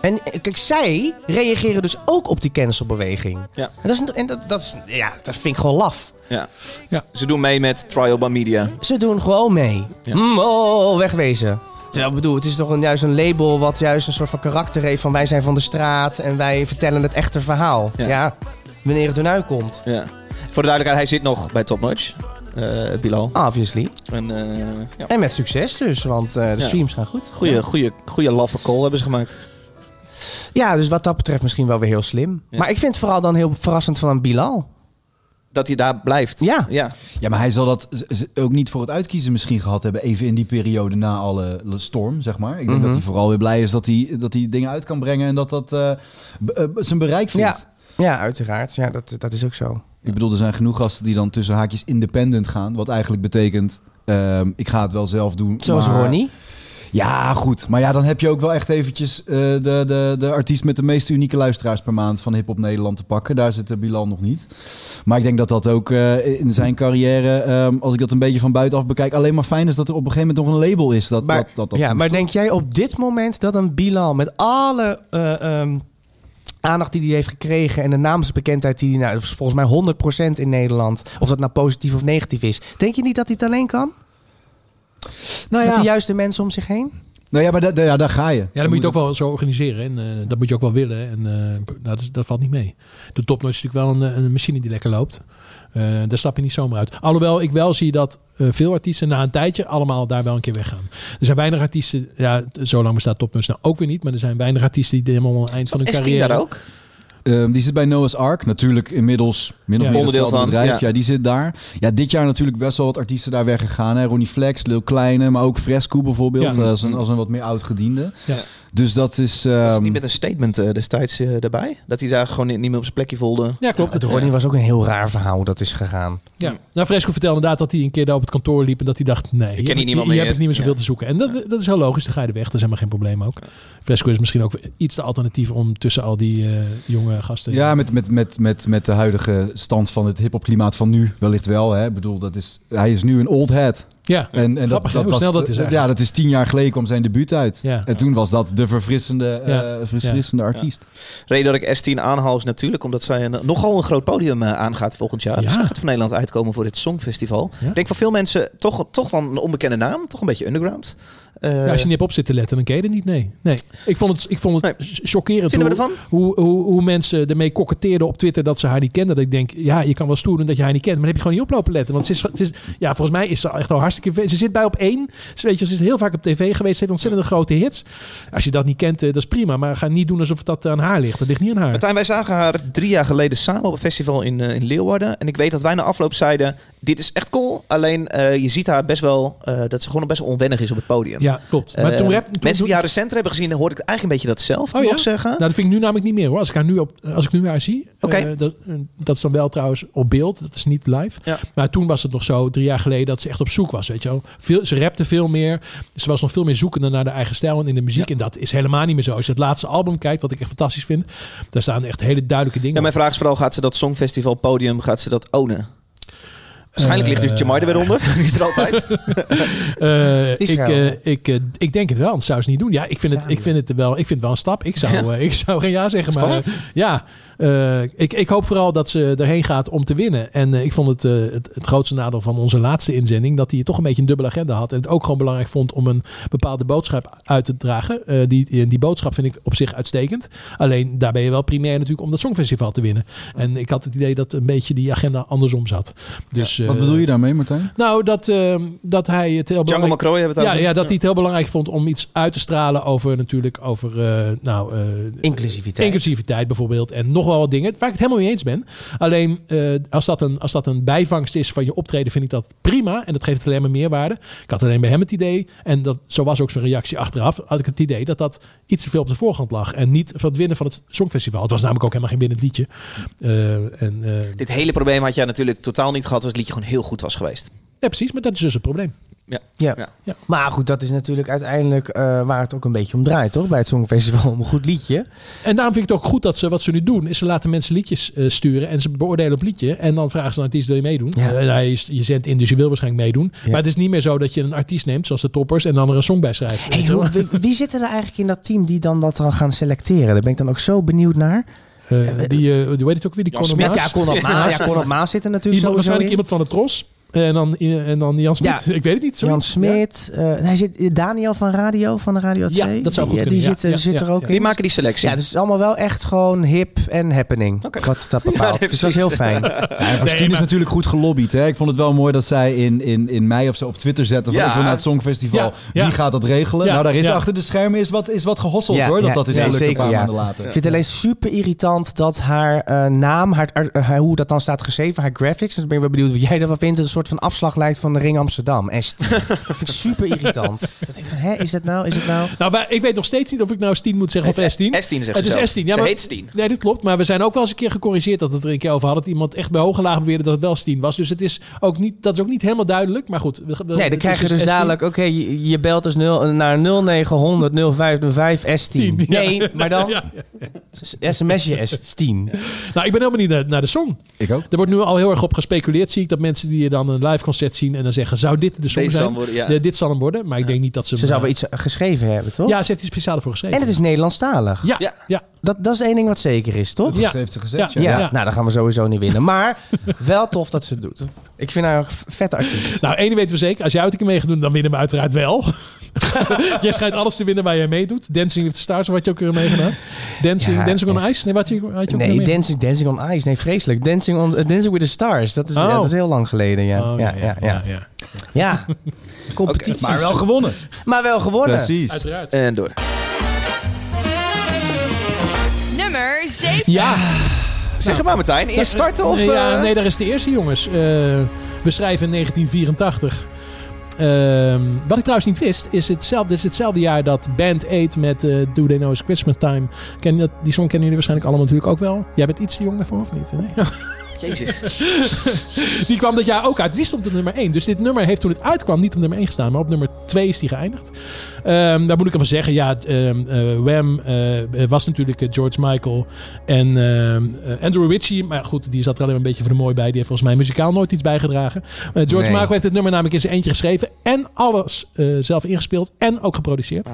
En eh, kijk, zij reageren dus ook op die cancelbeweging.
Ja.
En, dat is, en dat, dat, is, ja, dat vind ik gewoon laf.
Ja.
Ja.
Ze doen mee met Trial by Media.
Ze doen gewoon mee.
Ja.
Mm, oh, oh, oh, wegwezen. Terwijl ik bedoel, het is toch een, juist een label wat juist een soort van karakter heeft van wij zijn van de straat en wij vertellen het echte verhaal.
Ja.
Ja. Wanneer het hun uitkomt.
Ja. Voor de duidelijkheid, hij zit nog bij Top Notch. Eh, Bilal.
Obviously.
En, eh, ja.
En met succes dus, want eh, de
Ja.
streams gaan goed.
Goeie, goeie, goeie laffe call hebben ze gemaakt.
Ja, dus wat dat betreft misschien wel weer heel slim.
Ja.
Maar ik vind het vooral dan heel verrassend van een Bilal.
Dat hij daar blijft.
Ja.
ja.
Ja, maar hij zal dat z- z- ook niet voor het uitkiezen misschien gehad hebben. Even in die periode na alle l- storm, zeg maar. Ik denk
Mhm.
dat hij vooral weer blij is dat hij, dat hij dingen uit kan brengen en dat dat eh, b- eh, zijn bereik vindt.
Ja. Ja, uiteraard. Ja, dat, dat is ook zo.
Ik bedoel, er zijn genoeg gasten die dan tussen haakjes independent gaan. Wat eigenlijk betekent, ehm, ik ga het wel zelf doen.
Zoals
maar-
Ronnie.
Ja, goed. Maar ja, dan heb je ook wel echt eventjes eh, de, de, de artiest met de meest unieke luisteraars per maand van Hip Hop Nederland te pakken. Daar zit eh, Bilal nog niet. Maar ik denk dat dat ook eh, in zijn carrière, ehm, als ik dat een beetje van buitenaf bekijk, alleen maar fijn is dat er op een gegeven moment nog een label is. Dat,
Maar,
dat, dat, dat
ja,
moest.
maar denk jij op dit moment dat een Bilal met alle eh, ehm, aandacht die hij heeft gekregen en de naamsbekendheid die hij nou, dat is volgens mij 100% in Nederland, of dat nou positief of negatief is, denk je niet dat hij het alleen kan?
nou,
Met de
ja.
juiste mensen om zich heen?
nou ja, maar da- da- ja, daar ga je.
Ja, dan moet je het ook wel zo organiseren. En eh, dat moet je ook wel willen. En eh, nou, dat, is- dat valt niet mee. De topnotch is natuurlijk wel een, eh, een machine die lekker loopt. Eh, daar stap je niet zomaar uit. Alhoewel ik wel zie dat eh, veel artiesten na een tijdje allemaal daar wel een keer weggaan. Er zijn weinig artiesten, ja, zo lang bestaat Topnotch nou ook weer niet. Maar er zijn weinig artiesten die helemaal aan het eind van hun
Is die
carrière...
daar ook?
Ehm, die zit bij Noah's Ark. Natuurlijk inmiddels min of
Ja.
meer
Onderdeel
hetzelfde
van,
bedrijf.
ja.
Ja. die zit daar. Ja, dit jaar natuurlijk best wel wat artiesten daar weggegaan. Hè? Ronnie Flex, Lil Kleine, maar ook Fresco bijvoorbeeld.
Ja.
eh, Als, een, als een wat meer oud-gediende.
Ja.
Dus dat is...
Was het
ehm,
niet met een statement eh, destijds eh, daarbij? Dat hij daar gewoon niet niet meer op zijn plekje voelde.
Ja, klopt.
Het Ronnie was ook een heel raar verhaal hoe dat is gegaan.
Ja. Nou, Fresco vertelde inderdaad dat hij een keer daar op het kantoor liep en dat hij dacht, nee,
ken hier
je,
niemand
je, je
meer.
hebt niet meer zoveel
Ja.
te zoeken. En dat, dat is heel logisch, dan ga je er weg, dat is helemaal geen probleem ook. Fresco is misschien ook iets te alternatief om tussen al die eh, jonge gasten...
Ja, met, met, met, met, met de huidige stand van het hiphopklimaat van nu wellicht wel. Hè. Ik bedoel, dat is, hij is nu een old head.
Ja,
En, en
Grappig, hè, hoe snel dat is
Ja,
eigenlijk.
dat is tien jaar geleden kwam zijn debuut uit.
Ja.
En toen was dat de verfrissende, eh,
Ja.
verfrissende artiest.
Reden dat ik S10 aanhaal is natuurlijk omdat zij een, nogal een groot podium eh, aangaat volgend jaar.
Ja.
Dus zij gaat voor Nederland uitkomen voor dit Songfestival.
Ja.
Ik denk van veel mensen toch, toch dan een onbekende naam. Toch een beetje underground. Eh,
Ja, als je niet hebt op zit te letten, dan ken je het niet. Nee, nee. Ik vond het, ik vond het
Nee.
ch- chockerend
Vinden we
hoe, hoe, hoe, hoe mensen ermee koketteerden op Twitter dat ze haar niet kenden. Dat ik denk, ja, je kan wel stoer doen dat je haar niet kent, maar dan heb je gewoon niet op lopen letten. Want ze is, het is, ja, volgens mij is ze echt al hartstikke... ve- Ze zit bij op één. Ze, weet je, ze is heel vaak op tv geweest. Ze heeft ontzettend grote hits. Als je dat niet kent, eh, dat is prima. Maar ga niet doen alsof dat aan haar ligt. Dat ligt niet aan haar.
Martijn, wij zagen haar drie jaar geleden samen op een festival in, eh, in Leeuwarden. En ik weet dat wij na afloop zeiden, dit is echt cool. Alleen eh, je ziet haar best wel, eh, dat ze gewoon nog best wel onwennig is op het podium.
Ja, klopt. Maar
Eh,
toen rap, toen,
mensen die
toen-
haar recenter hebben gezien, hoorde ik eigenlijk een beetje datzelfde
Oh ja?
nog zeggen.
Nou, dat vind ik nu namelijk niet meer hoor. Als ik, haar nu op, als ik nu haar zie.
Oké.
eh, dat, eh, dat is dan wel trouwens op beeld. Dat is niet live.
Ja.
Maar toen was het nog zo, drie jaar geleden, dat ze echt op zoek was. Weet je wel. Veel, ze rapte veel meer. Ze was nog veel meer zoekende naar de eigen stijl en in de muziek. En dat is helemaal niet meer zo. Als je het laatste album kijkt, wat ik echt fantastisch vind. Daar staan echt hele duidelijke dingen
Ja,
op.
mijn vraag is vooral, gaat ze dat Songfestival podium, gaat ze dat ownen? Waarschijnlijk ligt dus Jamai er weer onder. Die is er altijd.
Eh,
Die
ik,
schuil.
eh, ik, eh, ik denk het wel, anders zou ze het niet doen. Ja, ik vind, het,
Ja,
ik vind, het, wel, ik vind het wel een stap. Ik zou, eh, ik zou geen ja zeggen. Maar eh, ja, eh, ik, ik hoop vooral dat ze erheen gaat om te winnen. En eh, ik vond het, eh, het, het grootste nadeel van onze laatste inzending... dat hij toch een beetje een dubbele agenda had. En het ook gewoon belangrijk vond om een bepaalde boodschap uit te dragen. Eh, die, die boodschap vind ik op zich uitstekend. Alleen daar ben je wel primair natuurlijk om dat Songfestival te winnen. En ik had het idee dat een beetje die agenda andersom zat. Dus,
Wat
eh,
bedoel je daarmee, Martijn?
Nou, dat, eh, dat hij het
Django
heel belangrijk...
McCroy hebben we het
Ja,
over.
ja, dat hij het heel belangrijk vond om iets uit te stralen over natuurlijk over eh, nou, eh,
Inclusiviteit.
inclusiviteit bijvoorbeeld en nog wel wat dingen waar ik het helemaal mee eens ben. Alleen eh, als, dat een, als dat een bijvangst is van je optreden vind ik dat prima en dat geeft het alleen maar meerwaarde. Ik had alleen bij hem het idee en dat, zo was ook zijn reactie achteraf, had ik het idee dat dat iets te veel op de voorgrond lag en niet van het winnen van het Songfestival. Het was namelijk ook helemaal geen winnend liedje. Eh, en, eh,
Dit hele probleem had jij natuurlijk totaal niet gehad als het liedje gewoon heel goed was geweest.
ja, precies, maar dat is dus het probleem.
Ja.
Ja.
Ja.
Maar goed, dat is natuurlijk uiteindelijk eh, waar het ook een beetje om draait, toch? Bij het Songfestival om een goed liedje.
En daarom vind ik het ook goed dat ze wat ze nu doen, is ze laten mensen liedjes eh, sturen en ze beoordelen op liedje. En dan vragen ze aan artiest, wil je meedoen?
Ja.
Eh, nou, je, je zendt in, dus je wil waarschijnlijk meedoen.
Ja.
Maar het is niet meer zo dat je een artiest neemt, zoals de toppers, en dan er een song bij schrijft.
Hey, hoe- wie, wie zitten er eigenlijk in dat team die dan dat dan gaan selecteren? Daar ben ik dan ook zo benieuwd naar.
Eh, die, eh, die, hoe heet het ook weer? Die
Jan
Conor
Smit,
Maas.
Ja, Conrad Maas, ja, Conrad Maas zit er natuurlijk
Iemand-
sowieso
waarschijnlijk
in.
iemand van de Tros. En dan, eh, en dan Jan Smit.
Ja.
Ik weet het niet. sorry.
Jan Smit, eh, hij zit, Daniel van Radio, van de Radio 2.
Ja, dat zou goed
die, eh,
kunnen,
Die
ja.
zit, er-
Ja,
zit
ja,
er ook
ja.
in.
Die maken die selectie.
Ja, dus het is allemaal wel echt gewoon hip en happening.
Oké.
Wat dat
Nou,
bepaalt.
nee,
dus dat is heel fijn.
Ja, en Christine is
maar-
natuurlijk goed gelobbyd. Hè? Ik vond het wel mooi dat zij in, in, in mei of zo op Twitter zette van
Ja.
ik wil naar het Songfestival.
Ja, ja.
Wie gaat dat regelen?
Ja,
nou, daar is
ja.
achter de schermen is wat, is wat gehosseld
Ja,
hoor. Dat
ja,
dat is
ja,
gelukt een
zeker,
paar
ja.
maanden later.
Ik vind het alleen super irritant dat haar eh, naam, haar, haar- haar- hoe dat dan staat geschreven, haar graphics. En dan ben ik wel benieuwd wat jij daarvan vindt. Een soort van afslag lijkt van de Ring Amsterdam. En st- dat vind ik super irritant. Dan denk ik van, hè, is dat nou, is het nou?
Nou, wij- ik weet nog steeds niet of ik nou Stien moet zeggen of S10.
S10 zegt
Het
ze
is
zelf.
S10, ja,
ze
maar-
heet Stien.
Nee, dat klopt. Maar we zijn ook wel eens een keer gecorrigeerd dat we het er een keer over hadden. Dat iemand echt bij hoge laag beweerde dat het wel Stien was. Dus het is ook niet, dat is ook niet helemaal duidelijk. Maar goed.
Nee, dan krijg je dus dadelijk, oké, je, je belt dus 0, naar 0900 0505 S10.
Ja.
Nee, maar dan
Ja, ja.
sms je S10.
Nou, ik ben heel benieuwd naar, naar de song.
Ik ook.
Er wordt nu al heel erg op gespeculeerd, zie ik. Dat mensen die dan een live concert zien en dan zeggen... zou dit de song
Deze
zijn?
zal worden, ja.
De- dit zal hem worden. Maar ik denk niet dat ze... eh,
Ze zou wel iets geschreven hebben, toch?
Ja, ze heeft iets speciaal voor geschreven.
En het is Nederlandstalig.
Ja, ja.
Ja.
ja.
Dat, dat is één ding wat zeker is, toch?
Dat
Ja.
heeft ze gezegd.
Ja.
Ja.
Ja,
Ja.
nou, dan gaan we sowieso niet winnen. Maar wel tof dat ze het doet. Ik vind haar ook een vette artiest.
Nou, één ding weten we zeker. Als jij uit een keer mee gaat doen, dan winnen we uiteraard wel. jij schijnt alles te winnen waar jij meedoet. Dancing with the Stars, wat je ook weer meegedaan. Dancing,
Ja,
Dancing on
echt.
Ice? Nee, wat had je, had je ook weer
Nee,
meegedaan?
dancing, dancing on Ice. Nee, vreselijk. Dancing, on, eh, dancing with the Stars. Dat is,
Oh.
ja, dat is heel lang geleden, ja.
Oh,
ja, ja, ja.
ja.
ja. competities.
Maar wel gewonnen.
maar wel gewonnen.
Precies.
Uiteraard.
En door.
Nummer 7.
Ja,
Zeg het maar Martijn, eerst starten of...
Nou, Nee, ja,
eh,
nee, daar is de eerste, jongens. Eh, we schrijven in 1984. Ehm, wat ik trouwens niet wist, is hetzelfde, dit is hetzelfde jaar dat Band Aid met eh, Do They Know It's Christmas Time. Ken, dat- die song kennen jullie waarschijnlijk allemaal natuurlijk ook wel. Jij bent iets te jong daarvoor, of niet? Nee?
Jezus.
Die kwam dat jaar ook uit. Die stond op nummer 1. Dus dit nummer heeft toen het uitkwam niet op nummer 1 gestaan, maar op nummer 2 is die geëindigd. Ehm, daar moet ik even zeggen, ja, ehm, eh, Wham eh, was natuurlijk eh, George Michael en ehm, eh, Andrew Ritchie. Maar goed, die zat er alleen maar een beetje voor de mooi bij. Die heeft volgens mij muzikaal nooit iets bijgedragen. Eh, George
Nee.
Michael heeft dit nummer namelijk in zijn eentje geschreven en alles eh, zelf ingespeeld en ook geproduceerd.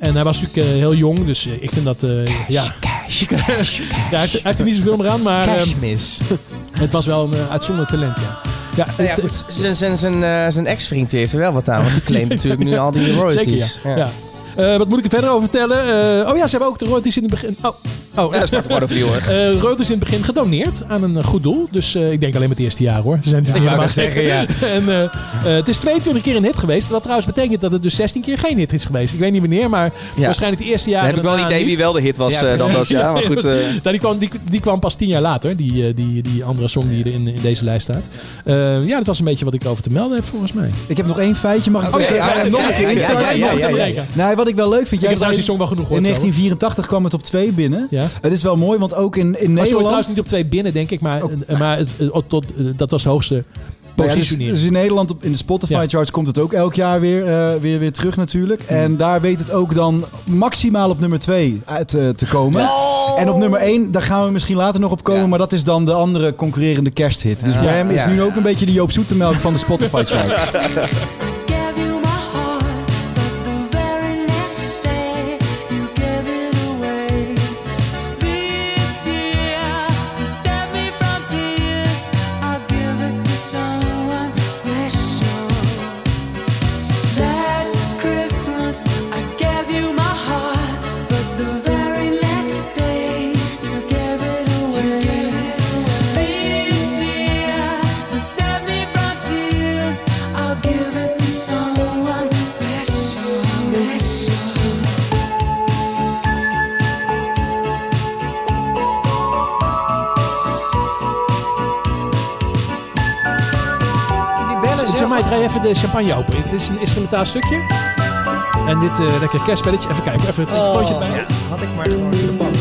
En hij was natuurlijk eh, heel jong, dus eh, ik vind dat... eh, ja.
Cash, cash,
Ja, hij heeft, hij heeft er niet zoveel meer aan, maar ehm,
mis.
het was wel een eh, uitzonderlijk talent, ja. Ja, het-
Nou Ja, goed, zijn- zijn- zijn, eh, zijn ex-vriend heeft er wel wat aan, want die claimt natuurlijk nu al die royalties.
Zeker, ja. ja. Eh, wat moet ik er verder over vertellen? Eh, oh ja, ze hebben ook de royalties in het begin... Oh, oh
Ja, dat staat er gewoon over die hoor.
eh, royalties in het begin gedoneerd aan een eh, goed doel. Dus eh, ik denk alleen maar het eerste jaar hoor. Ze zijn natuurlijk
wou
helemaal
net zeggen,
gek.
ja.
En, eh, eh, het is 22 keer een hit geweest. Wat trouwens betekent dat het dus 16 keer geen hit is geweest. Ik weet niet wanneer, maar
Ja.
waarschijnlijk de eerste jaren
Dan heb ik wel een
daarna
idee wie
niet.
wel de hit was
Ja,
eh, dan dat.
precies.
Ja, maar goed. eh,
Nou, die, kwam, die, die kwam pas tien jaar later, die, eh, die, die andere song die er in, in deze lijst staat. Eh, ja, dat was een beetje wat ik over te melden heb volgens mij.
Ik heb nog één feitje. Mag ik
Oké,
ook-
ja, ja,
nog
ja,
een keer?
ja, ja,
Sorry,
ja, ja,
nog een
ja,
keer.
ja, ja.
Nee, want ik wel leuk vind.
Ik
Jij zei-
heb trouwens die song wel genoeg
In
gehoord. zo, hoor.
1984 kwam het op 2 binnen.
Ja.
Het is wel mooi, want ook in, in
Maar sorry,
Nederland...
trouwens niet op twee binnen, denk ik.
Oh.
Maar, eh, maar het, eh, tot, eh, dat was de hoogste
Nou ja, dus-
positionering.
dus, in Nederland op, in de Spotify
Ja.
charts komt het ook elk jaar weer, eh, weer, weer terug natuurlijk.
Hmm.
En daar weet het ook dan maximaal op nummer 2 uit eh, te komen. En op nummer 1, daar gaan we misschien later nog op komen.
Ja.
Maar dat is dan de andere concurrerende kersthit. Dus Wham is
Ja.
nu ook een beetje de Joop Zoetemelk van de Spotify charts.
Gave you my heart, but the very next day you gave it away. This year to save me from tears, I'll give it to someone special. Last Christmas I gave you my heart, but the very next day you gave it away. This year to save me from tears, I'll give it to someone special, special.
Zeg maar, draai even de champagne open. Dit is een instrumentaal stukje. En dit eh lekker kerstspelletje. Even kijken, even het
Oh.
potje erbij.
Had ik maar gewoon in de bank.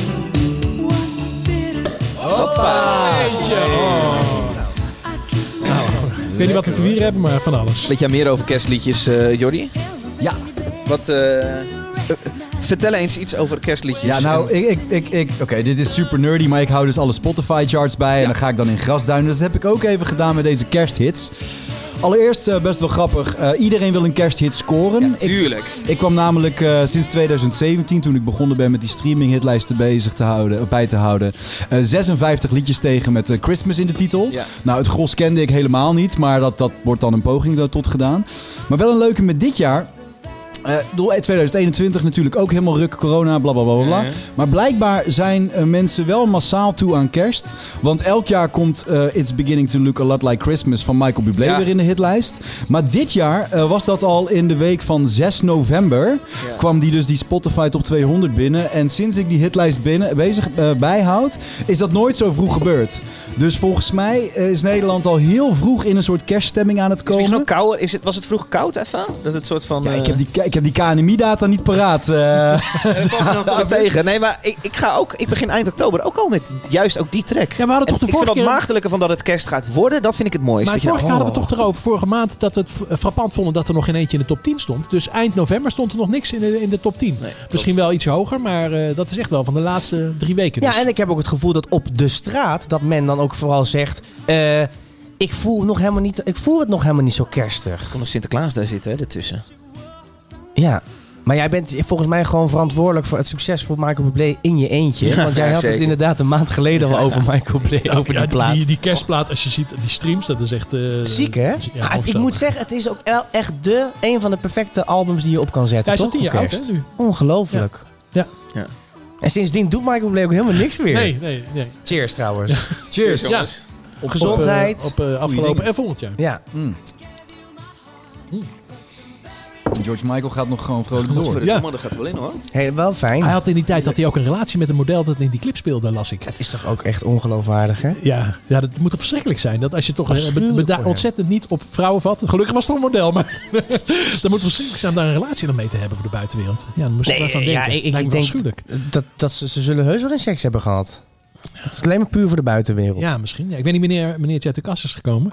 Once bitter,
Oh. Ik weet niet wat we te hier hebben, maar van alles.
Weet jij meer over kerstliedjes, eh Jordi?
ja,
Wat, eh, eh, vertel eens iets over kerstliedjes.
ja, nou, ik... ik, ik, ik Oké, dit is super nerdy, maar ik hou dus alle Spotify charts bij. En dan ga ik dan in grasduinen. Dus dat heb ik ook even gedaan met deze kersthits. Allereerst, eh, best wel grappig. eh, iedereen wil een kersthit scoren.
Ja,
Ik-
tuurlijk.
Ik kwam namelijk eh, sinds 2017, toen ik begonnen ben met die streaming hitlijsten bezig te houden, bij te houden, eh, 56 liedjes tegen met eh, Christmas in de titel.
Ja.
Nou, het gros kende ik helemaal niet, maar dat, dat wordt dan een poging eh, tot gedaan. Maar wel een leuke met dit jaar. Eh, ik bedoel, 2021 natuurlijk ook helemaal ruk, corona, bla bla bla bla, bla. Maar blijkbaar zijn eh, mensen wel massaal toe aan kerst. Want elk jaar komt eh, It's Beginning to Look a Lot Like Christmas van Michael Bublé
Ja.
weer in de hitlijst. Maar dit jaar eh, was dat al in de week van 6 november.
Ja.
Kwam die dus die Spotify Top 200 binnen. En sinds ik die hitlijst binnen, bezig, eh, bijhoud, is dat nooit zo vroeg gebeurd. Dus volgens mij eh, is Nederland al heel vroeg in een soort kerststemming aan het
Is het
komen.
misschien ook kouder? Is het, was het vroeg koud even? Dat het soort van...
Ja, ik
eh,
heb die, ik heb die KNMI-data niet paraat. eh.
En dan nog
Tot Ah, tegen. Nee, maar ik, ik ga ook. Ik begin eind oktober ook al met juist ook die track.
Ja, we hadden
En
toch de
ik vind
vorige
dat
keer...
maagdelijke van dat het kerst gaat worden, dat vind ik het mooiste.
Maar
Dat je
vorige
nou-
keer hadden we het toch erover, vorige maand, dat we het f- frappant vonden dat er nog geen eentje in de top 10 stond. Dus eind november stond er nog niks in de, in de top 10. Misschien wel iets hoger, maar eh, dat is echt wel van de laatste drie weken.
Ja,
dus.
en ik heb ook het gevoel dat op de straat dat men dan ook vooral zegt. eh, ik voel, nog helemaal niet, ik voel het nog helemaal niet zo kerstig.
Kon de Sinterklaas daar zitten, hè, ertussen.
Ja. Maar jij bent volgens mij gewoon verantwoordelijk voor het succes voor Michael Bublé in je eentje.
Ja,
want jij had het
zeker.
inderdaad een maand geleden al over Michael Bublé, over die plaat.
nou. Die, kerstplaat, als je ziet, die streams, dat is echt... eh, dus,
Ziek, hè?
Ja,
Ah, ik moet zeggen, het is ook wel echt de, een van de perfecte albums die je op kan zetten.
Hij is al
toch?
tien jaar
Voor
oud,
kerst?
hè, nu?
Ongelooflijk.
Ja.
Ja.
En sindsdien doet Michael Bublé ook helemaal niks meer.
Nee, nee, nee.
Cheers trouwens.
Cheers.
Ja.
Gezondheid.
Op, eh, op, eh, afgelopen en volgend jaar.
Ja.
Mm.
Mm.
Hmm. George Michael gaat nog gewoon vrolijk door.
Godverdomme, dat gaat wel in hoor.
Hey, wel fijn.
Hij had in die tijd dat hij ook een relatie met een model dat in die clip speelde, las ik.
Dat is toch ook echt ongeloofwaardig, hè?
Ja, ja, dat moet toch verschrikkelijk zijn. Dat als je toch eh, be-
Afschuwelijk
be- daar
voor hem.
ontzettend niet op vrouwen vat. Gelukkig was het toch een model, maar dat moet verschrikkelijk zijn om daar een relatie dan mee te hebben voor de buitenwereld. Ja, dan moest ik
Nee,
daarvan
ja,
denken.
ik- ik
Lijkt me wel
denk-
afschuwelijk.
Dat, dat ze, ze zullen heus wel geen seks hebben gehad. Het is alleen maar puur voor de buitenwereld.
Ja, misschien. Ja, ik weet niet wanneer meneertje uit de kast is gekomen.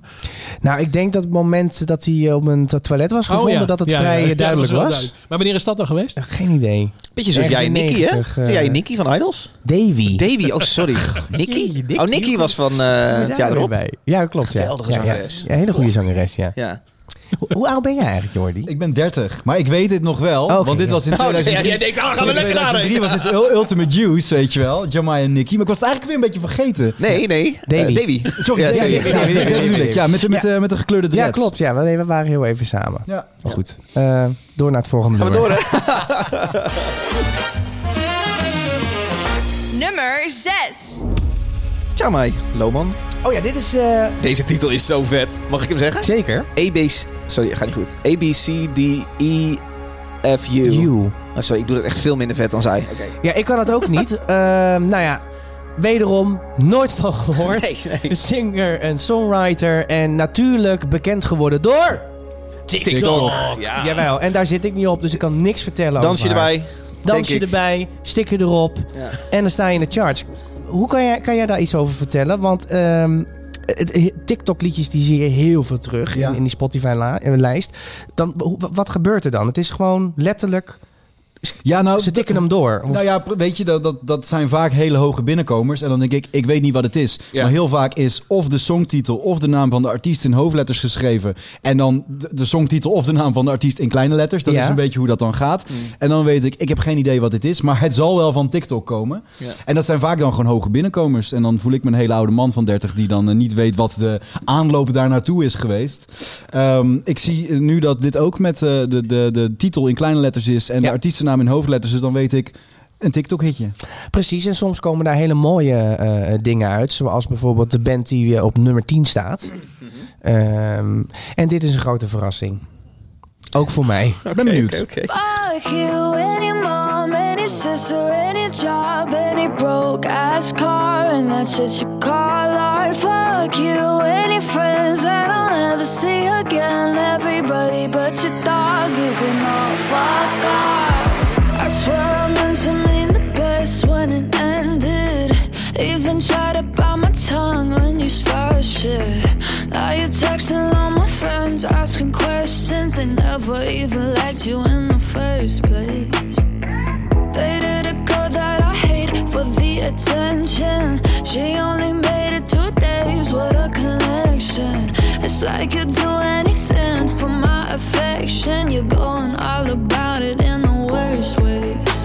Nou, ik denk dat het moment dat hij eh, op een to- toilet was gevonden,
Oh, ja.
dat het
Ja, ja,
vrij
ja,
eh,
dat
duidelijk
wel
was.
duidelijk. Maar wanneer is dat dan geweest?
Eh, Geen idee.
Beetje zoals jij
Ergens in
Nicky, hè?
90,
Zie
eh.
jij Nicky van Idols?
Davy.
Davy, oh sorry. Nicky?
Nicky.
Oh, Nicky was van eh, het jaar erop.
Ja, klopt. Ja.
Geweldige
Ja, ja.
zangeres.
Ja, hele goede zangeres, ja.
Ja.
Hoe, hoe oud ben jij eigenlijk, Jordi? Oh,
Ik ben 30, maar ik weet dit nog wel,
Oké,
want dit
ja.
was in 2003.
jij denkt, ah, gaan we lekker naar
2003 was het Ul- Ultimate Juice, weet je wel. Jamai en Nicky. Maar ik was het eigenlijk weer een beetje vergeten.
Nee, nee.
Davy.
Eh, Davy.
Sorry,
Ja,
ja,
sorry.
ja, ja, ja, dat bedoel ik. Ja, met de, met, de- met de gekleurde dreads.
Ja, klopt. Ja, we, we waren heel even samen.
Ja.
Maar goed, eh, door naar het volgende
Gaan we
nummer.
door, hè?
Nummer 6.
Jamai, Loman.
Oh ja, dit is... eh,
Deze titel is zo vet. Mag ik hem zeggen?
zeker.
ABC... Sorry, gaat niet goed. A, B, C, D, E, F, U.
You.
Oh, sorry, ik doe dat echt veel minder vet dan zij.
Ja, ik kan het ook niet. Ehm, nou ja, wederom nooit van gehoord.
Nee, nee.
Een Singer en songwriter en natuurlijk bekend geworden door... TikTok.
Ja.
Jawel, en daar zit ik niet op, dus ik kan niks vertellen
Dans je
over haar.
erbij. denk
Dans je
ik.
erbij, stik je erop
Ja.
en dan sta je in de charts. Hoe kan jij, kan jij daar iets over vertellen? Want ehm, het- TikTok-liedjes die zie je heel veel terug
Ja.
in, in die Spotify-lijst. Dan, hoe- wat gebeurt er dan? Het is gewoon letterlijk,
Ja, nou,
ze tikken hem door. Of-
Nou ja, pr- weet je, dat, dat, dat zijn vaak hele hoge binnenkomers. En dan denk ik, ik weet niet wat het is.
Ja.
Maar heel vaak is of de songtitel of de naam van de artiest in hoofdletters geschreven. En dan de, de songtitel of de naam van de artiest in kleine letters. Dat
Ja. Mm.
is een beetje hoe dat dan gaat. En dan weet ik, ik heb geen idee wat dit is. Maar het zal wel van TikTok komen.
Ja.
En dat zijn vaak dan gewoon hoge binnenkomers. En dan voel ik me een hele oude man van 30 die dan eh, niet weet wat de aanloop daar naartoe is geweest. Ehm, ik zie eh, nu dat dit ook met eh, de, de, de titel in kleine letters is en
Ja.
de artiestennaam in hoofdletters. Dus dan weet ik een TikTok-hitje.
Precies, en soms komen daar hele mooie eh, dingen uit. Zoals bijvoorbeeld de band die eh, op nummer 10 staat.
Mhm.
Ehm, en dit is een grote verrassing. Ook voor mij.
Ik ben benieuwd. Eh,
Oké, oké.
Fuck you, any mom, any sister, any job, any broke ass car, and that shit you call art. Fuck you, any friends that I'll never see again, everybody but your dog, you can all fuck off. I swear I meant to mean the best when it ended. Even tried to bite my tongue when you started shit. Now you're texting all my friends, asking questions. They never even liked you in the first place. Dated a girl that I hate for the attention. She only made it two days. What a connection. It's like you'd do anything for my affection. You're going all about it in the worst ways.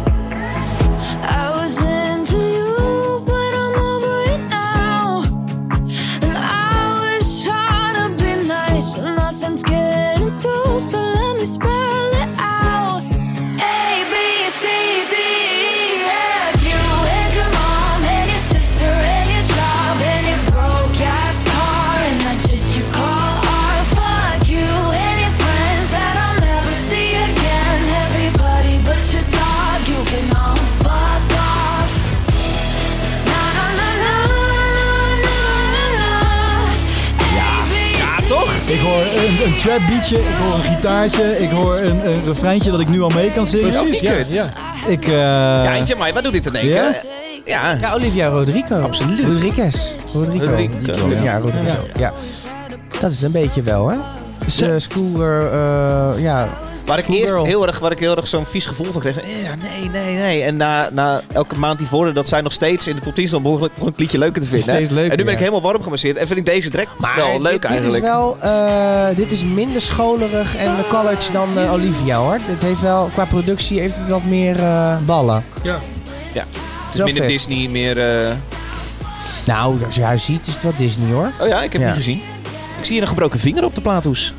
I was into you, but I'm over it now. And I was trying to be nice, but nothing's getting through. So let me spell it out. A B C D E F U and your mom and your sister and your job and your broke ass car and that shit you call art. Fuck you and your friends that I'll never see again. Everybody but your dog, you can all fuck off.
Ja, toch?
Ik hoor een, een trap beatje, ik hoor een gitaartje, ik hoor een, een refreintje dat ik nu al mee kan zingen.
Precies, ja, ja.
Ik, eh,
Ja, Jamai, wat doet dit te denken?
Ja?
Ja.
Ja, Olivia Rodrigo.
Absoluut.
Rodriguez. Rodrigo.
Rodrigo,
Ja,
ja.
Rodrigo. Ja. Dat is een beetje wel, hè? De schoolgirl, eh, ja.
Waar ik eerst
Schoolgirl.
heel erg, waar ik heel erg zo'n vies gevoel van kreeg. Eh, Ja, nee, nee, nee. En na, na elke maand die vorderde dat zij nog steeds in de top 10 stond, begon ik begon ik het liedje leuker te vinden.
Steeds leuker,
en nu ben ik
ja.
helemaal warm gemasseerd. En vind ik deze track wel
dit-
leuk eigenlijk.
Dit is wel, eh, dit is minder scholerig en college dan eh, Olivia, hoor. Dit heeft wel, qua productie heeft het wat meer eh, ballen.
Het is
wel
minder
vet.
Disney, meer... eh,
Nou, als je haar ziet is het wel Disney, hoor.
Oh ja, ik heb
Ja.
het niet gezien. Ik zie hier een gebroken vinger op de plaathoes.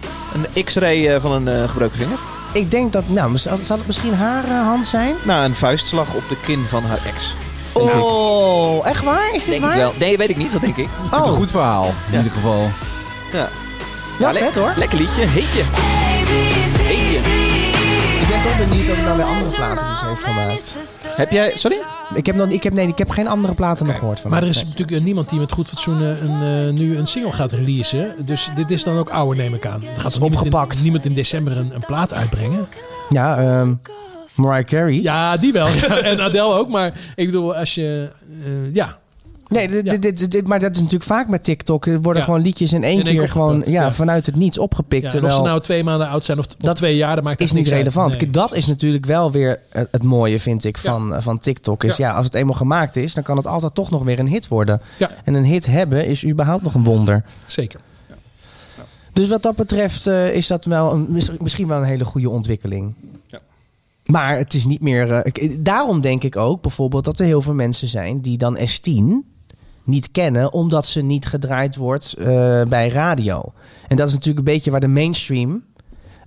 Een x-ray eh, van een eh, gebroken vinger.
Ik denk dat, nou, mis- zal het misschien haar eh, hand zijn?
Nou, een vuistslag op de kin van haar ex.
Oh, echt waar? Is dit
Denk
waar?
ik wel. Nee, weet ik niet. Dat denk ik.
het is een
Oh,
goed verhaal, in
Ja.
ieder geval.
Ja.
wel
le-
vet, hoor.
Lekker liedje. Heetje. Heetje.
Ik ben toch benieuwd of hij dan weer andere platen dus heeft gemaakt.
Heb jij... Sorry?
Ik heb, nog, ik heb, nee, ik heb geen andere platen nog gehoord van
Maar er
hem.
is
Nee.
natuurlijk eh, niemand die met goed fatsoen eh, een, eh, nu een single gaat releasen. Dus dit is dan ook ouder, neem ik aan. Er gaat
is
niemand in-
opgepakt.
Niemand in december een, een plaat uitbrengen.
Ja, ehm, Mariah Carey.
Ja, die wel. Ja, en Adele ook. Maar ik bedoel, als je... eh, ja.
Nee, dit,
Ja.
dit, dit, dit- maar dat is natuurlijk vaak met TikTok. Er worden
Ja.
gewoon liedjes in één
In één
keer
keer
gewoon
opgepikt,
ja,
ja.
vanuit het niets opgepikt.
Ja, en of
terwijl
ze nou twee maanden oud zijn of, of
Dat
twee jaar, dat maakt
is
echt
niet
niks uit.
relevant.
Nee.
Kijk, Dat is natuurlijk wel weer het, het mooie, vind ik, van, eh, van TikTok. Is ja. als het eenmaal gemaakt is, dan kan het altijd toch nog weer een hit worden.
Ja.
En een hit hebben is überhaupt nog een wonder.
Zeker.
Dus wat dat betreft eh, is dat wel een, mis- misschien wel een hele goede ontwikkeling.
Ja.
Maar het is niet meer. eh, ik- daarom denk ik ook bijvoorbeeld dat er heel veel mensen zijn die dan S10 niet kennen, omdat ze niet gedraaid wordt eh, bij radio. En dat is natuurlijk een beetje waar de mainstream,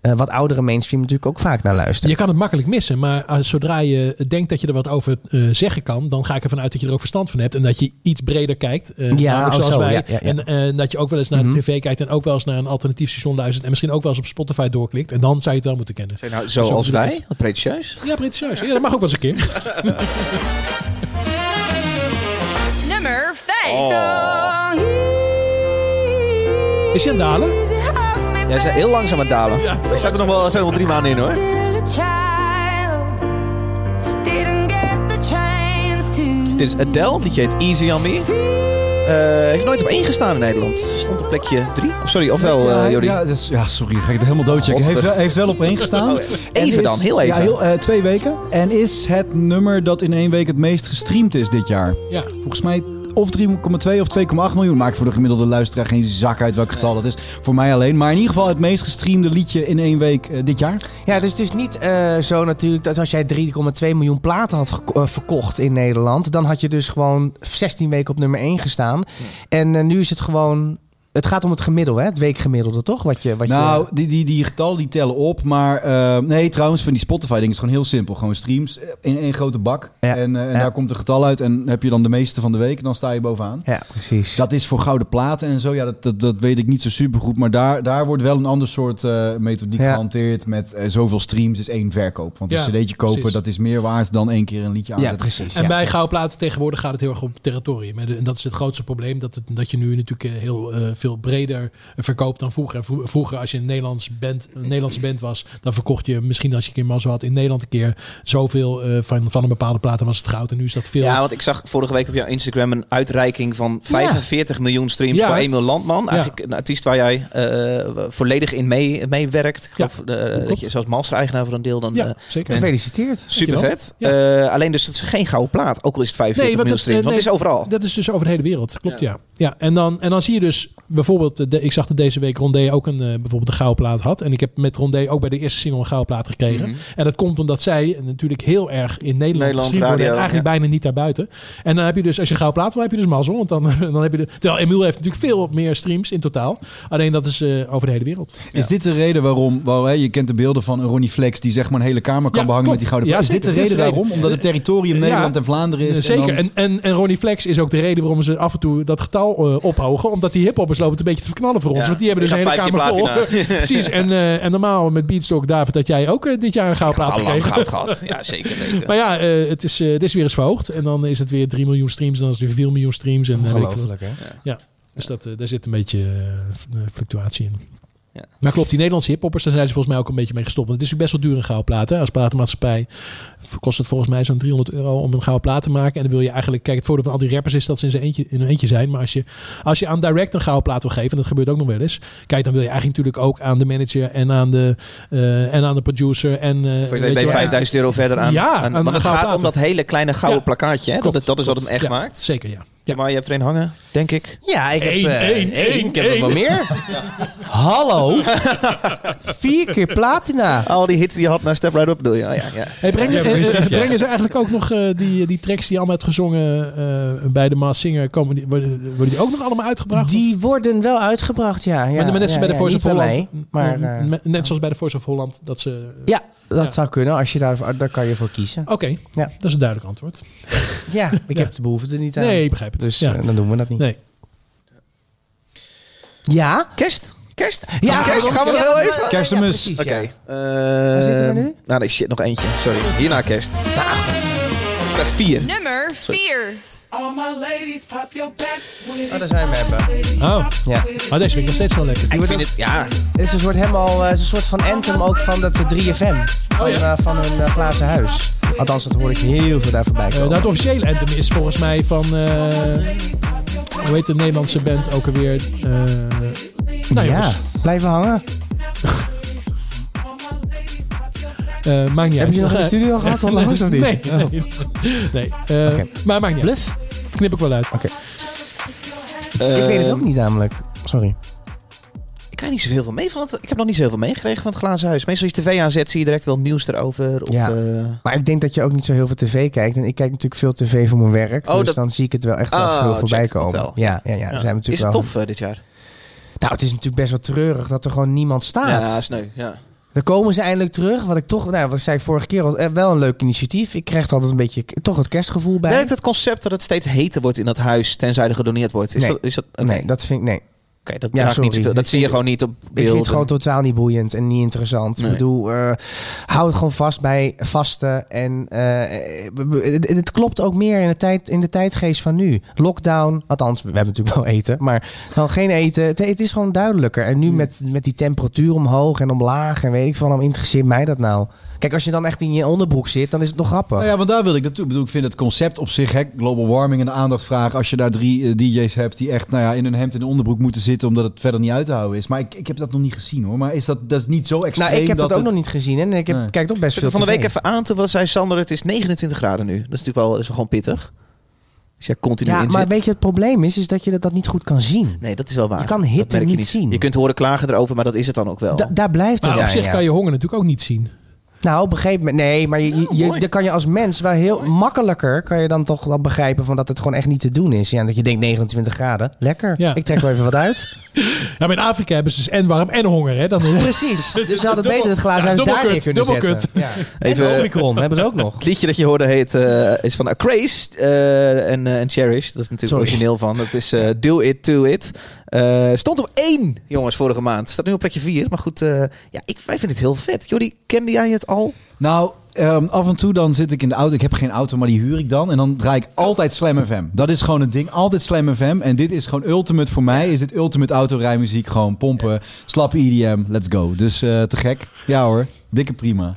eh, wat oudere mainstream, natuurlijk ook vaak naar luistert.
Je kan het makkelijk missen, maar als- zodra je denkt dat je er wat over eh, zeggen kan, dan ga ik ervan uit dat je er ook verstand van hebt en dat je iets breder kijkt. eh,
Ja,
namelijk
oh,
zoals
zo,
wij.
ja, ja, ja.
En eh, dat je ook wel eens naar
Mhm.
de tv kijkt en ook wel eens naar een alternatief station luistert en misschien ook wel eens op Spotify doorklikt. En dan zou je het wel moeten kennen.
Zijn nou zoals
Zo bedoel ik
wij? Pretentieus?
Ja, pretentieus. Ja, dat mag ook wel eens een keer.
Nummer 5.
Oh.
Is je aan het dalen?
Jij is heel langzaam aan het dalen.
Ja.
Ik zat er nog wel, er zijn nog wel drie maanden in hoor. Dit is Adele, liedje heet Easy on Me. Eh, heeft nooit op één gestaan in Nederland. Stond op plekje drie. Of sorry, ofwel
ja,
eh Jordi.
ja, dat is- ja, sorry, ga ik het helemaal doodchecken. Heeft, wel- heeft wel op één gestaan. En
Oh, Even
is-
dan, heel even.
Ja, eh, twee weken. En is het nummer dat in één week het meest gestreamd is dit jaar.
Ja.
Volgens mij of 3,2 of 2,8 miljoen. Maakt voor de gemiddelde luisteraar geen zak uit welk getal dat is. Voor mij alleen. Maar in ieder geval het meest gestreamde liedje in één week eh, dit jaar.
Ja, dus het is niet eh, zo natuurlijk dat als jij 3,2 miljoen platen had geko- eh, verkocht in Nederland, dan had je dus gewoon 16 weken op nummer 1 gestaan. En eh, nu is het gewoon. Het gaat om het gemiddelde, hè? het weekgemiddelde, toch? Wat je, wat
Nou,
je,
die, die, die getallen die tellen op. Maar eh, nee, trouwens, van die Spotify-ding is gewoon heel simpel. Gewoon streams in één grote bak.
Ja.
En, eh, en
Ja.
daar komt een getal uit. En heb je dan de meeste van de week, dan sta je bovenaan.
ja, precies.
Dat is voor gouden platen en zo. Ja, dat, dat, dat weet ik niet zo supergoed. Maar daar, daar wordt wel een ander soort eh, methodiek
Ja.
gehanteerd. Met eh, zoveel streams is één verkoop. Want
Ja,
een cd'tje kopen,
precies.
dat is meer waard dan één keer een liedje
ja,
aanzetten.
precies.
En
ja.
bij goudplaten tegenwoordig gaat het heel erg om territorium. En de- En dat is het grootste probleem. Dat, het, dat je nu natuurlijk eh, heel eh, veel breder eh, verkoopt dan vroeger. Vro- Vroeger als je een, Nederlands band, een Nederlandse band was, dan verkocht je misschien als je een keer zo had in Nederland een keer zoveel eh, van, van een bepaalde plaat. Dan was het goud en nu is dat veel.
Ja, want ik zag vorige week op jouw Instagram een uitreiking van 45 miljoen streams
Ja.
voor Emil Landman.
Ja.
Eigenlijk een artiest waar jij eh, volledig in mee- meewerkt. Ik
Ja,
geloof, eh, dat
klopt.
je zelfs master-eigenaar van een deel dan...
Ja,
eh,
zeker.
Gefeliciteerd.
Super vet. Eh, alleen dus het is geen gouden plaat. Ook al is het 45
Nee,
miljoen
want dat- eh,
streams. Want het is
nee,
overal.
Dat is dus over de hele wereld. Klopt, ja. ja. en, dan, en dan zie je dus bijvoorbeeld... eh, De, ik zag dat deze week Rondé ook een, eh, bijvoorbeeld een gouden plaat had. En ik heb met Rondé ook bij de eerste single een gouden plaat gekregen. En dat komt omdat zij natuurlijk heel erg in Mhm. Nederland,
Nederland,
gezien worden. En
radio,
eigenlijk bijna niet daarbuiten. En dan heb je dus, als je een gouden plaat wil, heb je dus mazzel. Want dan, dan heb je de, terwijl Emiel heeft natuurlijk veel meer streams in totaal. Alleen dat is eh, over de hele wereld.
Is dit de reden waarom, waarom hè, je kent de beelden van een Ronnie Flex die zeg maar een hele kamer kan
Ja,
behangen
klopt.
met die gouden
Ja,
plaat? Is dit de
zeker.
reden
Dit is de
daarom?
reden.
Omdat het territorium
Ja.
Nederland en Vlaanderen is? en
Zeker.
dan-
En, en, en Ronnie Flex is ook de reden waarom ze af en toe dat getal eh, ophogen. Omdat die hiphoppers lopen het een beetje te verknallen voor ons.
Ja,
Want die hebben
die
dus een hele
gaan
kamer
vijf keer
vol. Precies. En, eh, en normaal met Beatstalk, David, dat jij ook eh, dit jaar een gouden plaat
Al lang
gekregen.
goud gehad. Ja, zeker weten.
Maar ja, eh, het, is, eh, het is weer eens verhoogd. En dan is het weer 3 miljoen streams. En dan is het weer 4 miljoen streams. En, eh, weet ik veel.
Ongelooflijk, hè?
Dus dat, eh, daar zit een beetje eh, f- eh, fluctuatie in.
Ja.
Maar klopt, die Nederlandse hiphoppers, daar zijn ze volgens mij ook een beetje mee gestopt. Want het is natuurlijk best wel duur een gouden plaat. Hè? Als platenmaatschappij kost het volgens mij zo'n 300 euro om een gouden plaat te maken. En dan wil je eigenlijk, kijk, het voordeel van al die rappers is dat ze in, zijn eentje, in hun eentje zijn. Maar als je, als je aan direct een gouden plaat wil geven, en dat gebeurt ook nog wel eens. Kijk, dan wil je eigenlijk natuurlijk ook aan de manager en aan de, eh, en aan de producer. En, eh,
Voor je het
weet
weet ben
je
je
wel,
5000 euro verder aan.
Ja,
aan-
aan- aan
want het
gouden
gaat
platen.
om dat hele kleine gouden
Ja.
plakkaatje. Hè? Dat,
Klopt,
is- dat is wat hem
klopt.
echt
Ja,
maakt.
Zeker, ja. ja.
Maar je hebt er een hangen, denk ik.
Ja, ik heb
Eén,
eh,
één, één,
Ik heb er
één.
wel meer. Hallo. Vier keer platina.
Al die hits die je had naar Step Right Up bedoel je? Oh, ja, ja.
Hey, brengen, eh, eh, brengen ze eigenlijk ook nog eh, die, die tracks die je allemaal hebt gezongen eh, bij de Maas Singer? Komen die, worden, worden die ook nog allemaal uitgebracht?
Die worden wel uitgebracht, ja. ja
maar, maar net als
ja,
bij de
ja,
Voice
niet
of Holland.
mij, maar,
eh,
eh,
me- net zoals bij de Voice of Holland. Dat ze,
Ja, dat
Ja.
zou kunnen. Als je daar, daar kan je voor kiezen.
Oké,
Ja.
dat is een duidelijk antwoord.
Ja, ik
Ja.
heb de behoefte er niet aan.
Nee, ik begrijp het.
Dus
ja.
eh, dan doen we dat niet.
Nee.
Ja?
Kerst? Kerst?
Ja,
kerst gaan we nog heel even.
Kerstmis.
precies,
Oké.
ja.
eh,
zitten we nu?
Nou nee, shit, nog eentje. Sorry. Hierna kerst. Dag. Vier.
Nummer 4.
All my ladies, pop your backs with
Oh, daar zijn we hebben.
it.
Oh,
Ja.
maar deze vind ik nog steeds wel lekker.
Ik vind het, ja,
Het is een soort, helemaal, eh, het is een soort van anthem ook van dat eh, 3FM. Van,
Oh,
eh, van hun eh, glazen huis. Althans, dat hoor ik heel veel daar voorbij
Eh,
komen.
nou, het officiële anthem is volgens mij van... eh, hoe heet de Nederlandse band ook alweer? Eh nou
ja,
jongens,
blijven hangen.
eh, maakt niet uit.
Hebben jullie nog in de studio gehad onlangs of niet? Oh.
Nee, nee. nee. Eh,
Oké.
Maar maakt niet uit.
Bluff?
Knip ik wel uit.
ik weet het
eh,
ook niet namelijk. Sorry.
Ik krijg niet zoveel van mee. Van het, ik heb nog niet zoveel meegekregen van het glazen huis. Meestal als je tv aanzet, zie je direct wel nieuws erover. Of,
Ja.
eh,
Maar ik denk dat je ook niet zo heel veel tv kijkt. En ik kijk natuurlijk veel tv voor mijn werk.
Oh,
dus
dat-
dan zie ik het wel echt wel
Oh,
veel
check
voorbij
het
komen.
wel.
Ja, ja, ja, daar zijn we natuurlijk
is
wel...
het tof eh, dit jaar?
Nou, het is natuurlijk best wel treurig dat er gewoon niemand staat.
Ja, nou- sneu. Ja.
Dan komen ze eindelijk terug. Wat ik toch, nou, wat zei ik vorige keer al, eh, wel een leuk initiatief. Ik krijg er altijd een beetje k- toch het kerstgevoel bij.
Werkt het concept dat het steeds heter wordt in dat huis, tenzij er gedoneerd wordt? Is
Nee.
dat, is dat, oké.
Nee, dat vind ik, nee.
Oké, dat
Ja,
draagt
sorry.
niet zoveel. Dat
Ik
zie je gewoon niet op beeld.
Ik vind het gewoon totaal niet boeiend en niet interessant.
Nee.
Ik bedoel, eh, hou het gewoon vast bij vasten. En eh, eh, het, het klopt ook meer in de, tijd, in de tijdgeest van nu. Lockdown, althans, we hebben natuurlijk wel eten. Maar gewoon geen eten. Het, het is gewoon duidelijker. En nu met, met die temperatuur omhoog en omlaag en weet ik van, waarom interesseert mij dat nou? Kijk, als je dan echt in je onderbroek zit, dan is het nog grappig.
Nou ja, want daar wil ik naartoe. Ik bedoel, ik vind het concept op zich, hè, global warming en de aandacht vragen. Als je daar drie eh, DJ's hebt die echt nou ja, in hun hemd en onderbroek moeten zitten, omdat het verder niet uit te houden is. Maar ik, ik heb dat nog niet gezien hoor. Maar is dat, dat is niet zo extreem?
Nou, ik heb dat, ook
het-
nog niet gezien. En ik heb,
Nee.
kijk toch best
Ik
veel
zette van de
tv.
week even aan, toen was- zei Sander, het is 29 graden nu. Dat is natuurlijk wel, dat is wel gewoon pittig. Dus jij continu
Ja,
in
maar
zit.
weet je, het probleem is, is dat je dat, dat niet goed kan zien.
Nee, dat is wel waar.
Je kan
Dat
hitte
merk je
niet zien.
Je kunt horen klagen erover, maar dat is het dan ook wel.
Da- daar blijft het
Maar op
bij,
zich
ja.
kan je honger natuurlijk ook niet zien.
Nou, op een gegeven moment... Nee, maar je, je, je-
mooi.
dan kan je als mens wel heel makkelijker... kan je dan toch wel begrijpen van dat het gewoon echt niet te doen is. Ja, dat je denkt 29 graden. Lekker.
Ja.
Ik trek wel even wat uit.
Ja, maar in Afrika hebben ze dus en warm en honger. Hè? Dan
Precies. Dus ze hadden
Dubbel-
beter het glazen
ja,
huis daar
dubbelkut,
neer kunnen
dubbelkut.
zetten. Ja.
Even-
Even Omicron hebben ze ook nog.
Het liedje dat je hoorde heet, eh, is van Acraze eh, en, eh, en Cherish. Dat is natuurlijk
Sorry.
origineel van. Dat is eh, Do It, Do It. Eh, stond op één, jongens, vorige maand. Staat nu op plekje vier. Maar goed, eh, ja, ik, wij vinden het heel vet. Jordi, kende jij het al?
Nou, ehm, af en toe dan zit ik in de auto. Ik heb geen auto, maar die huur ik dan. En dan draai ik altijd Slam FM. Dat is gewoon het ding. Altijd Slam FM. En dit is gewoon ultimate voor mij. Is dit ultimate autorijmuziek. Gewoon pompen, slap EDM, let's go. Dus eh, te gek. Ja hoor, dikke prima.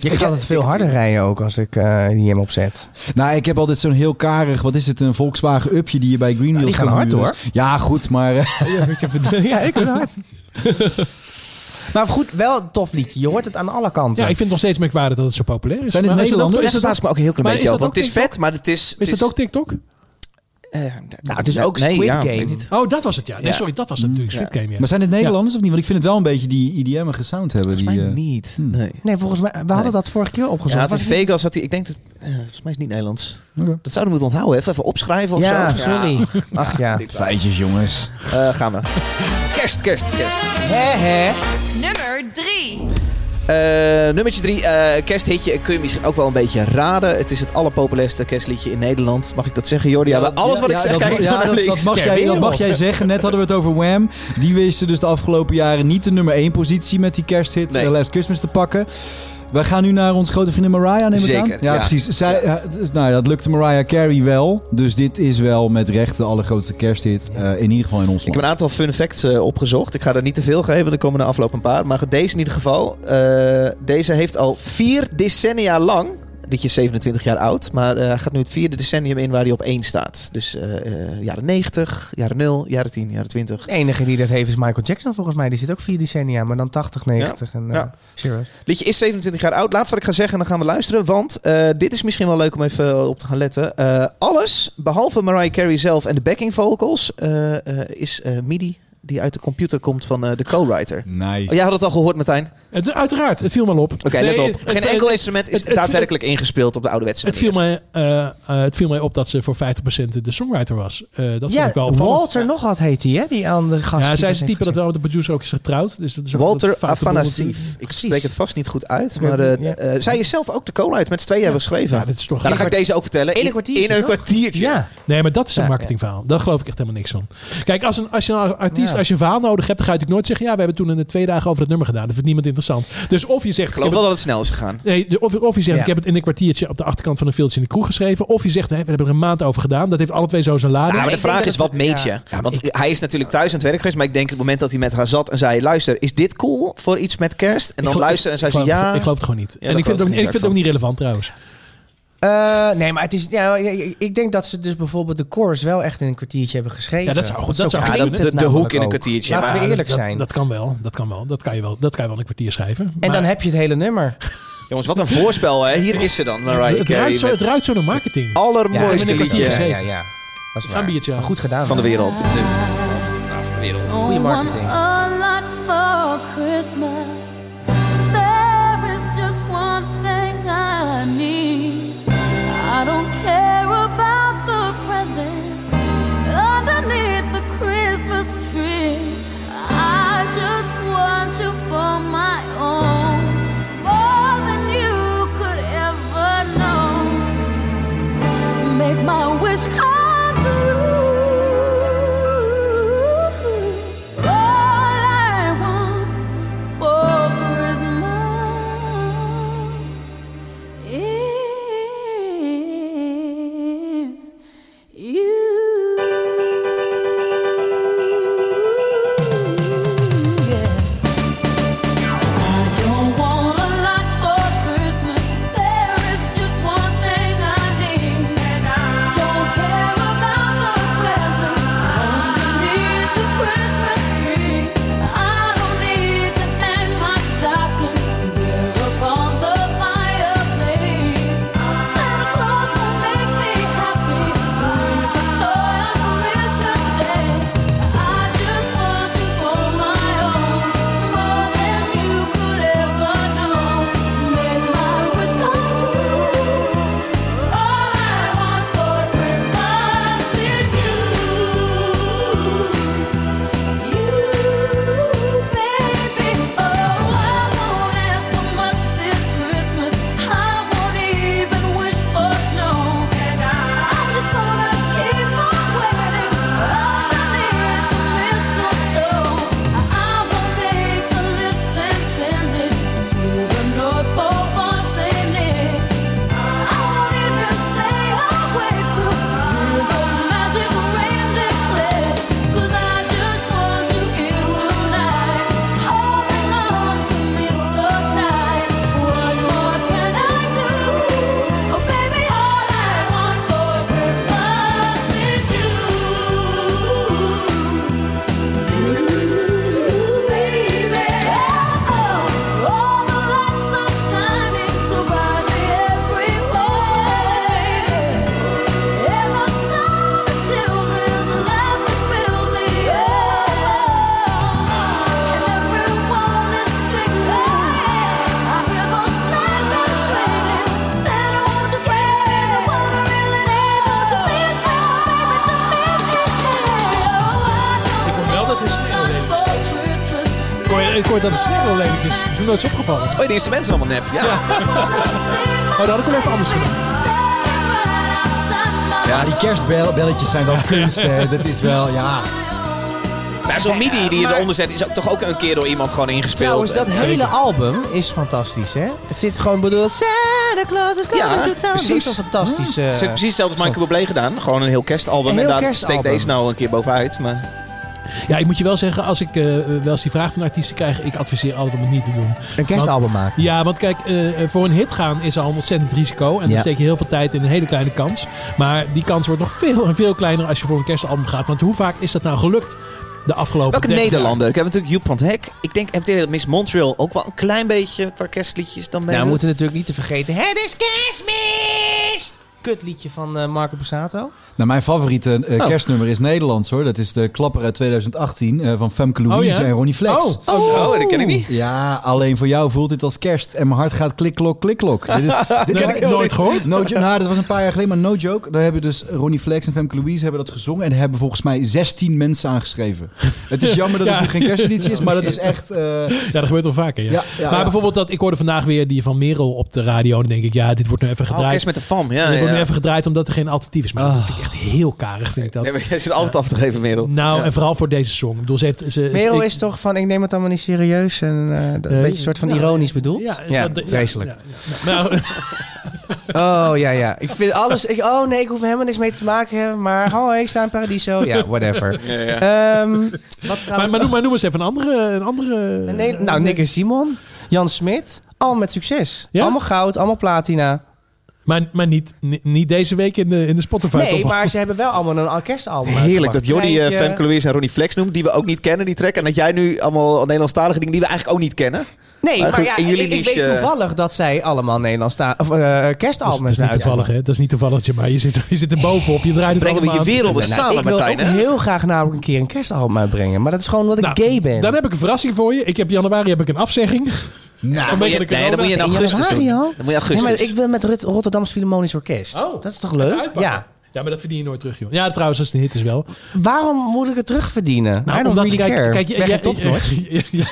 Je gaat het veel harder rijden ook als ik eh, die hem opzet.
Nou, ik heb altijd zo'n heel karig, wat is het, een Volkswagen Upje die je bij Greenwheels
die gaan
kan
hard,
huren.
hoor.
Ja, goed, maar... eh,
ja, ik ben hard. maar goed, wel een tof liedje. Je hoort het aan alle kanten.
Ja, ik vind het nog steeds merkwaardig dat het zo populair is.
Zijn dit
Maar als je
Nederlanders?
dat-
dat
Is
maakt me ook een heel klein
maar
beetje
is
over.
dat
Want het is
ook
vet, maar het is...
dat- is Eh, dat ook TikTok?
Nou, het is ook Squid Game.
Oh, dat was het, ja. Nee,
Ja.
sorry, dat was het natuurlijk. Squid Game, ja.
Mm. Maar zijn dit Nederlanders of niet? Want ik vind het wel een beetje die E IDM'ige sound hebben. Die,
Volgens mij
eh,
niet.
hmm.
Nee.
Nee, volgens mij, we hadden
Nee.
dat vorige keer
Ja,
opgezocht.
had in
Was het niet-
Vegas had hij... Ik denk dat... eh, volgens mij is het niet Nederlands.
Oké.
Dat zouden we moeten onthouden. Even, even opschrijven of
Ja,
zo.
sorry. Ach ja.
dit-
Feitjes, jongens.
Eh, gaan we. Kerst, kerst, kerst.
Hè, hè.
Nummer 3.
Eh, nummertje drie, eh, kersthitje. Kun je misschien ook wel een beetje raden. Het is het allerpopulairste kerstliedje in Nederland. Mag ik dat zeggen, Jordi? Ja, bij alles wat ik zeg,
dat,
kijk ik
ja,
naar
dat, dat
links.
mag jij, dat mag jij zeggen. Net hadden we het over Wham. Die wisten dus de afgelopen jaren niet de nummer 1 positie met die kersthit
Nee.
The Last Christmas te pakken. Wij gaan nu naar onze grote vriendin Mariah, neem ik
Zeker,
aan. Ja,
ja.
precies. Zij, ja, het is- nou, ja, dat lukte Mariah Carey wel. Dus dit is wel met recht de allergrootste kersthit. eh, in ieder geval in ons
Ik heb
land.
een aantal fun facts eh, opgezocht. Ik ga er niet te veel geven, er komen de afloop een paar. Maar deze in ieder geval. eh, deze heeft al vier decennia lang. Dit is 27 jaar oud, maar eh, hij gaat nu het vierde decennium in waar hij op één staat. Dus eh, eh, jaren 90, jaren 0, jaren 10, jaren 20.
De enige die dat heeft is Michael Jackson volgens mij. Die zit ook vier decennia, maar dan 80, 90 en eh
ja.
serious.
Liedje is 27 jaar oud. Laatst wat ik ga zeggen en dan gaan we luisteren. Want eh, dit is misschien wel leuk om even op te gaan letten. Eh, alles, behalve Mariah Carey zelf en de backing vocals, eh, eh, is eh, MIDI die uit de computer komt van eh, de co-writer.
Nice.
Oh, jij had het al gehoord, Martijn? Oké,
Het- uiteraard, het viel me al op. Oké,
let op. Geen enkel instrument is
het- het-
daadwerkelijk ingespeeld op de ouderwetse
Het viel,
manier.
mij, eh, eh, het viel mij op dat ze voor 50% de songwriter was. Eh, dat vond
Ja,
ik wel opvallend.
Walter nog wat heet hij, hè? Die andere gast.
Ja,
die
zij is het type dat
heeft
wel met de producer ook is getrouwd. Dus dat is ook
Walter
dat foute boel
Afanasief.
natuurlijk.
Ik
Precies.
spreek het vast niet goed uit.
Ik
Maar
weet het
eh,
niet,
eh, zij is zelf ook de co-writer. Met z'n tweeën hebben we geschreven.
Ja, dit is toch...
nou, dan ga ik deze ook vertellen.
In een
In-
kwartiertje,
In een
toch?
kwartiertje.
gezien. Ja,
Nee, maar dat is een
Ja,
marketingverhaal. Daar geloof ik echt helemaal niks van. Kijk, als een, als je een artiest als je een verhaal nodig hebt, dan ga je natuurlijk nooit zeggen... ja, we hebben toen in de twee dagen over het nummer gedaan. Dat vindt niemand interessant. Dus of je zegt...
Ik geloof
ik
wel dat
heb Ah,
het snel is gegaan.
het- Nee, de- of, of je zegt,
Ja.
ik heb het in een kwartiertje op de achterkant van een filtje in de kroeg geschreven. Of je zegt, nee, we hebben er een maand over gedaan. Dat heeft alle twee zo zijn lading.
Ja, maar de
ik denk
vraag
dat
is,
het-
wat meet
ja.
je? Want hij is natuurlijk thuis aan het werk geweest, maar ik denk het moment dat hij met haar zat en zei, luister, is dit cool voor iets met kerst? En dan
geloof-
luisteren en zei
ik
ze,
geloof,
ja.
Ik geloof het gewoon niet.
daar
en ik vind
geloof
het, ook,
ik
ik
niet
vind het ook niet relevant trouwens.
Eh, nee, maar het is, ja, ik- ik denk dat ze dus bijvoorbeeld de chorus wel echt in een kwartiertje hebben geschreven.
Ja, dat zou goed-
Want
dat
zo
zou
ja,
goed
klinkt
dat,
kunnen.
de,
het
de hoek
namelijk
in een
ook.
kwartiertje.
Laten we
maar-
eerlijk
Dat-
zijn.
Dat, kan wel, dat kan wel. Dat kan je wel, dat kan je wel in een kwartier schrijven.
en
Maar
dan heb je het hele nummer.
jongens, wat een voorspel, hè? Hier is ze dan, Mariah
het, ruikt
Carey.
zo, het
met Het
ruikt zo naar marketing.
allermooiste
Ja, met een
liedje
Ja,
kwartier.
ja, ja. Dat is
Ga
waar.
een biertje aan.
Maar Goed gedaan.
van de
man.
wereld. Nu.
Oh,
Goeie marketing.
a lot for Christmas. There is just one thing I need. I don't care about the presents underneath the Christmas tree. I just want you for my own, more than you could ever know make my wish come true. All I want for Christmas is you. Yeah. I don't want a lot for Christmas. There is just one thing I need. Don't care about the presents underneath the Christmas tree. I don't need to hang my stocking there upon the fireplace. Santa Claus will make me happy with a toy on Christmas Day. I just want you for my own, more than you could ever know. Make my wish come true. All I want for Christmas is you. You, baby, oh, I won't ask for much this Christmas. I won't even wish for snow. I'm just gonna keep on waiting underneath the mistletoe. I will make a list and send it to the North Pole for Saint Nick. I won't even stay awake to hear those magic reindeer click. 'Cause I just want you here tonight, holding on to me so tight. What more can I do? Oh baby, all I want for Christmas is you.
Ik hoor wel dat het sneeuw lelijk Ik hoor- Ik hoor dat het sneeuw lelijk is. Dat is me nooit eens opgevallen.
Oh, die instrumenten zijn allemaal nep. Ja, ja.
Maar dat had ik wel even anders gedaan.
Ja, die kerstbelletjes zijn wel kunst, hè. Dat is wel, ja.
Maar zo'n midi die je eronder zet is ook toch ook een keer door iemand gewoon ingespeeld.
Trouwens, dat hele album is fantastisch, hè? Het zit gewoon, bedoel, dat Santa Claus is coming
Ja,
to town. Dat
precies.
is een fantastisch... eh,
Ze heeft precies hetzelfde als Michael Bublé gedaan. Gewoon een heel kerstalbum.
Een heel
en daar
kerstalbum.
steekt deze nou een keer bovenuit. Maar
Ja, ik moet je wel zeggen, als ik eh, wel eens die vraag van artiesten krijg, ik adviseer altijd om het niet te doen.
een kerstalbum maken.
Ja, want kijk, eh, voor een hit gaan is al een ontzettend risico. En dan
Ja.
steek je heel veel tijd in een hele kleine kans. Maar die kans wordt nog veel en veel kleiner als je voor een kerstalbum gaat. Want hoe vaak is dat nou gelukt de afgelopen
welke
30 jaar?
Nederlander? Ik heb natuurlijk Joep van het Hek. Ik denk, heb je dat Miss Montreal ook wel een klein beetje qua kerstliedjes dan mee?
Nou, we moeten natuurlijk niet te vergeten... Het is kerstmis! Kutliedje van eh, Marco Borsato.
Nou, mijn favoriete eh,
Oh.
kerstnummer is Nederlands, hoor. Dat is de klapper uit 2018 eh, van Femke Louise
Oh, ja?
en Ronnie Flex.
Oh.
Oh, dat ken ik niet.
Ja, alleen voor jou voelt dit als kerst. En mijn hart gaat klikklok, klikklok. Dit is, dit
Nee, nooit gehoord.
No jo- nou, dat was een paar jaar geleden, maar no joke. Daar hebben dus Ronnie Flex en Femke Louise hebben dat gezongen. En daar hebben volgens mij 16 mensen aangeschreven. Het is jammer dat
Ja.
het nu geen kersteditie is, maar dat is echt... eh,
Ja, dat gebeurt wel vaker. Ja.
Ja, ja,
maar
ja.
bijvoorbeeld dat ik hoorde vandaag weer die van Merel op de radio. Dan denk ik, ja, dit wordt nu even
Oh,
gedraaid.
kerst met de fam. Ja,
dit
ja,
wordt
ja.
wordt
Ah.
nu even gedraaid omdat er geen alternatief is. Maar dat vind ik echt heel karig, vind ik dat.
Nee, maar jij zit altijd af te geven, Merel.
Nou, en vooral voor deze song. Ik bedoel, ze heeft, ze, ze-
Merel
Dus ik-
is toch van, ik neem het allemaal niet serieus. En eh, dat een
Eh,
beetje een soort van
nou,
ironisch bedoeld.
Ja, dat- ja, Nou.
vreselijk.
ja, ja. Nou,
Oh, ja, ja. Ik vind alles... Ik, oh nee, ik hoef er helemaal niks mee te maken hebben. Maar oh, ik sta in Paradiso. Ja, whatever.
Ja, ja.
Ehm, wat
maar,
trouwens...
maar, noem, maar noem eens even een andere... Een andere
Een Nederla- nou, Nick en Simon. Jan Smit. Al met succes.
Ja?
Allemaal goud, allemaal platina.
Maar, maar niet, ni- niet deze week in de, in de Spotify.
Nee,
top.
maar ze hebben wel allemaal een orkestalbum
Heerlijk
uitgebracht.
dat Jordi eh
Treintje.
Femke Louise en Ronnie Flex noemt, die we ook niet kennen, die track. En dat jij nu allemaal Nederlandstalige dingen die we eigenlijk ook niet kennen.
Nee,
Maar
maar,
goed,
ja,
in
ik,
jullie
ik
niche,
weet
eh,
toevallig dat zij allemaal Nederlands of eh
Dat is,
kerstalbums
dat is niet
uitbrengen.
toevallig, hè? Dat is niet toevallig, Jim, maar je zit, je zit er bovenop. Je draait het
Brengen we
allemaal
je
aan.
werelden
Nou,
samen,
ik wil
Martijn.
ook
hè?
heel graag namelijk een keer een kerstalbum uitbrengen. Maar dat is gewoon omdat ik
Nou,
gay ben.
Dan heb ik een verrassing voor je. Ik heb januari heb ik een afzegging.
Nou, dan moet je-
vanwege de
nee, dan moet je in
in
augustus doen.
januari al?
Dan moet je
Nee, maar
augustus.
ik wil met het Rotterdams Philharmonisch Orkest.
Oh,
dat is toch
Even
leuk?
uitpakken.
Ja.
Ja, maar dat verdien je nooit terug, joh. Ja, trouwens, als het een hit is wel.
Waarom moet ik het terugverdienen? Nou, I don't
omdat-
really
kijk,
care.
kijk, jij-
Weg
jij-
het op nooit.
jij- jij-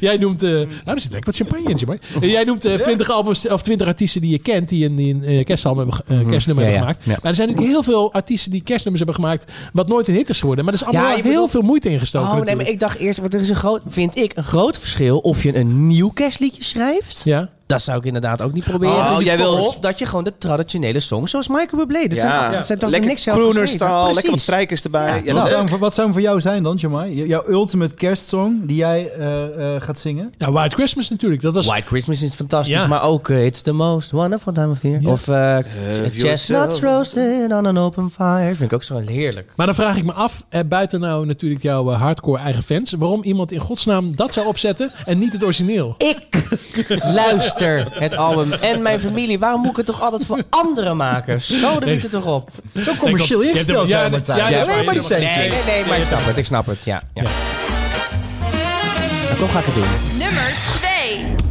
Jij noemt... eh nou, er zit lekker wat champagne in, Jim. hoor. Eh, Jij noemt eh, 20 albums of 20 artiesten die je kent... die een, die een eh, kerstalbum hebben, ge- eh, kerstnummer
Mhm. Ja,
hebben
ja,
gemaakt.
ja.
Maar er zijn natuurlijk heel veel artiesten die kerstnummers hebben gemaakt... wat nooit een hit is geworden. Maar er is allemaal
Ja, je
heel
bedoelt-
veel moeite ingestoken.
Oh nee, maar ik dacht eerst, want er is een groot, vind ik, een groot verschil of je een nieuw kerstliedje schrijft.
Ja.
Dat zou ik inderdaad ook niet proberen.
Oh, jij wil-
Of dat je gewoon de traditionele songs zoals Michael Bublé. Dat zijn,
Ja.
dat zijn toch
lekker
niks zelf geschreven?
crooner-style,
Precies.
lekker wat strijkers erbij. Ja,
Wat
dat-
zou, hem voor- wat zou hem voor jou zijn dan, Jamai? J- Jouw ultimate kerstsong die jij eh, eh, gaat zingen?
Nou, White Christmas natuurlijk. Dat was...
White Christmas is fantastisch,
Ja.
maar ook eh, It's the most wonderful time of year.
Ja.
Of eh,
Have
Chestnuts
yourself-
roasted on an open fire. Vind ik ook zo heerlijk.
Maar dan vraag ik me af, eh, buiten nou natuurlijk jouw eh, hardcore eigen fans, waarom iemand in godsnaam dat zou opzetten en niet het origineel?
Ik luister het album en mijn familie. Waarom moet ik het toch altijd voor anderen maken? Zo de wiet het toch op.
Zo commercieel
hebt hem-
ingesteld,
ja,
ja,
dat-
Martijn.
ja, dat is waar,
nee, maar die
dat is waar.
centjes.
Nee, nee, nee, maar ik snap het. Ik snap het, ja. ja. Maar toch ga ik het doen.
nummer 2.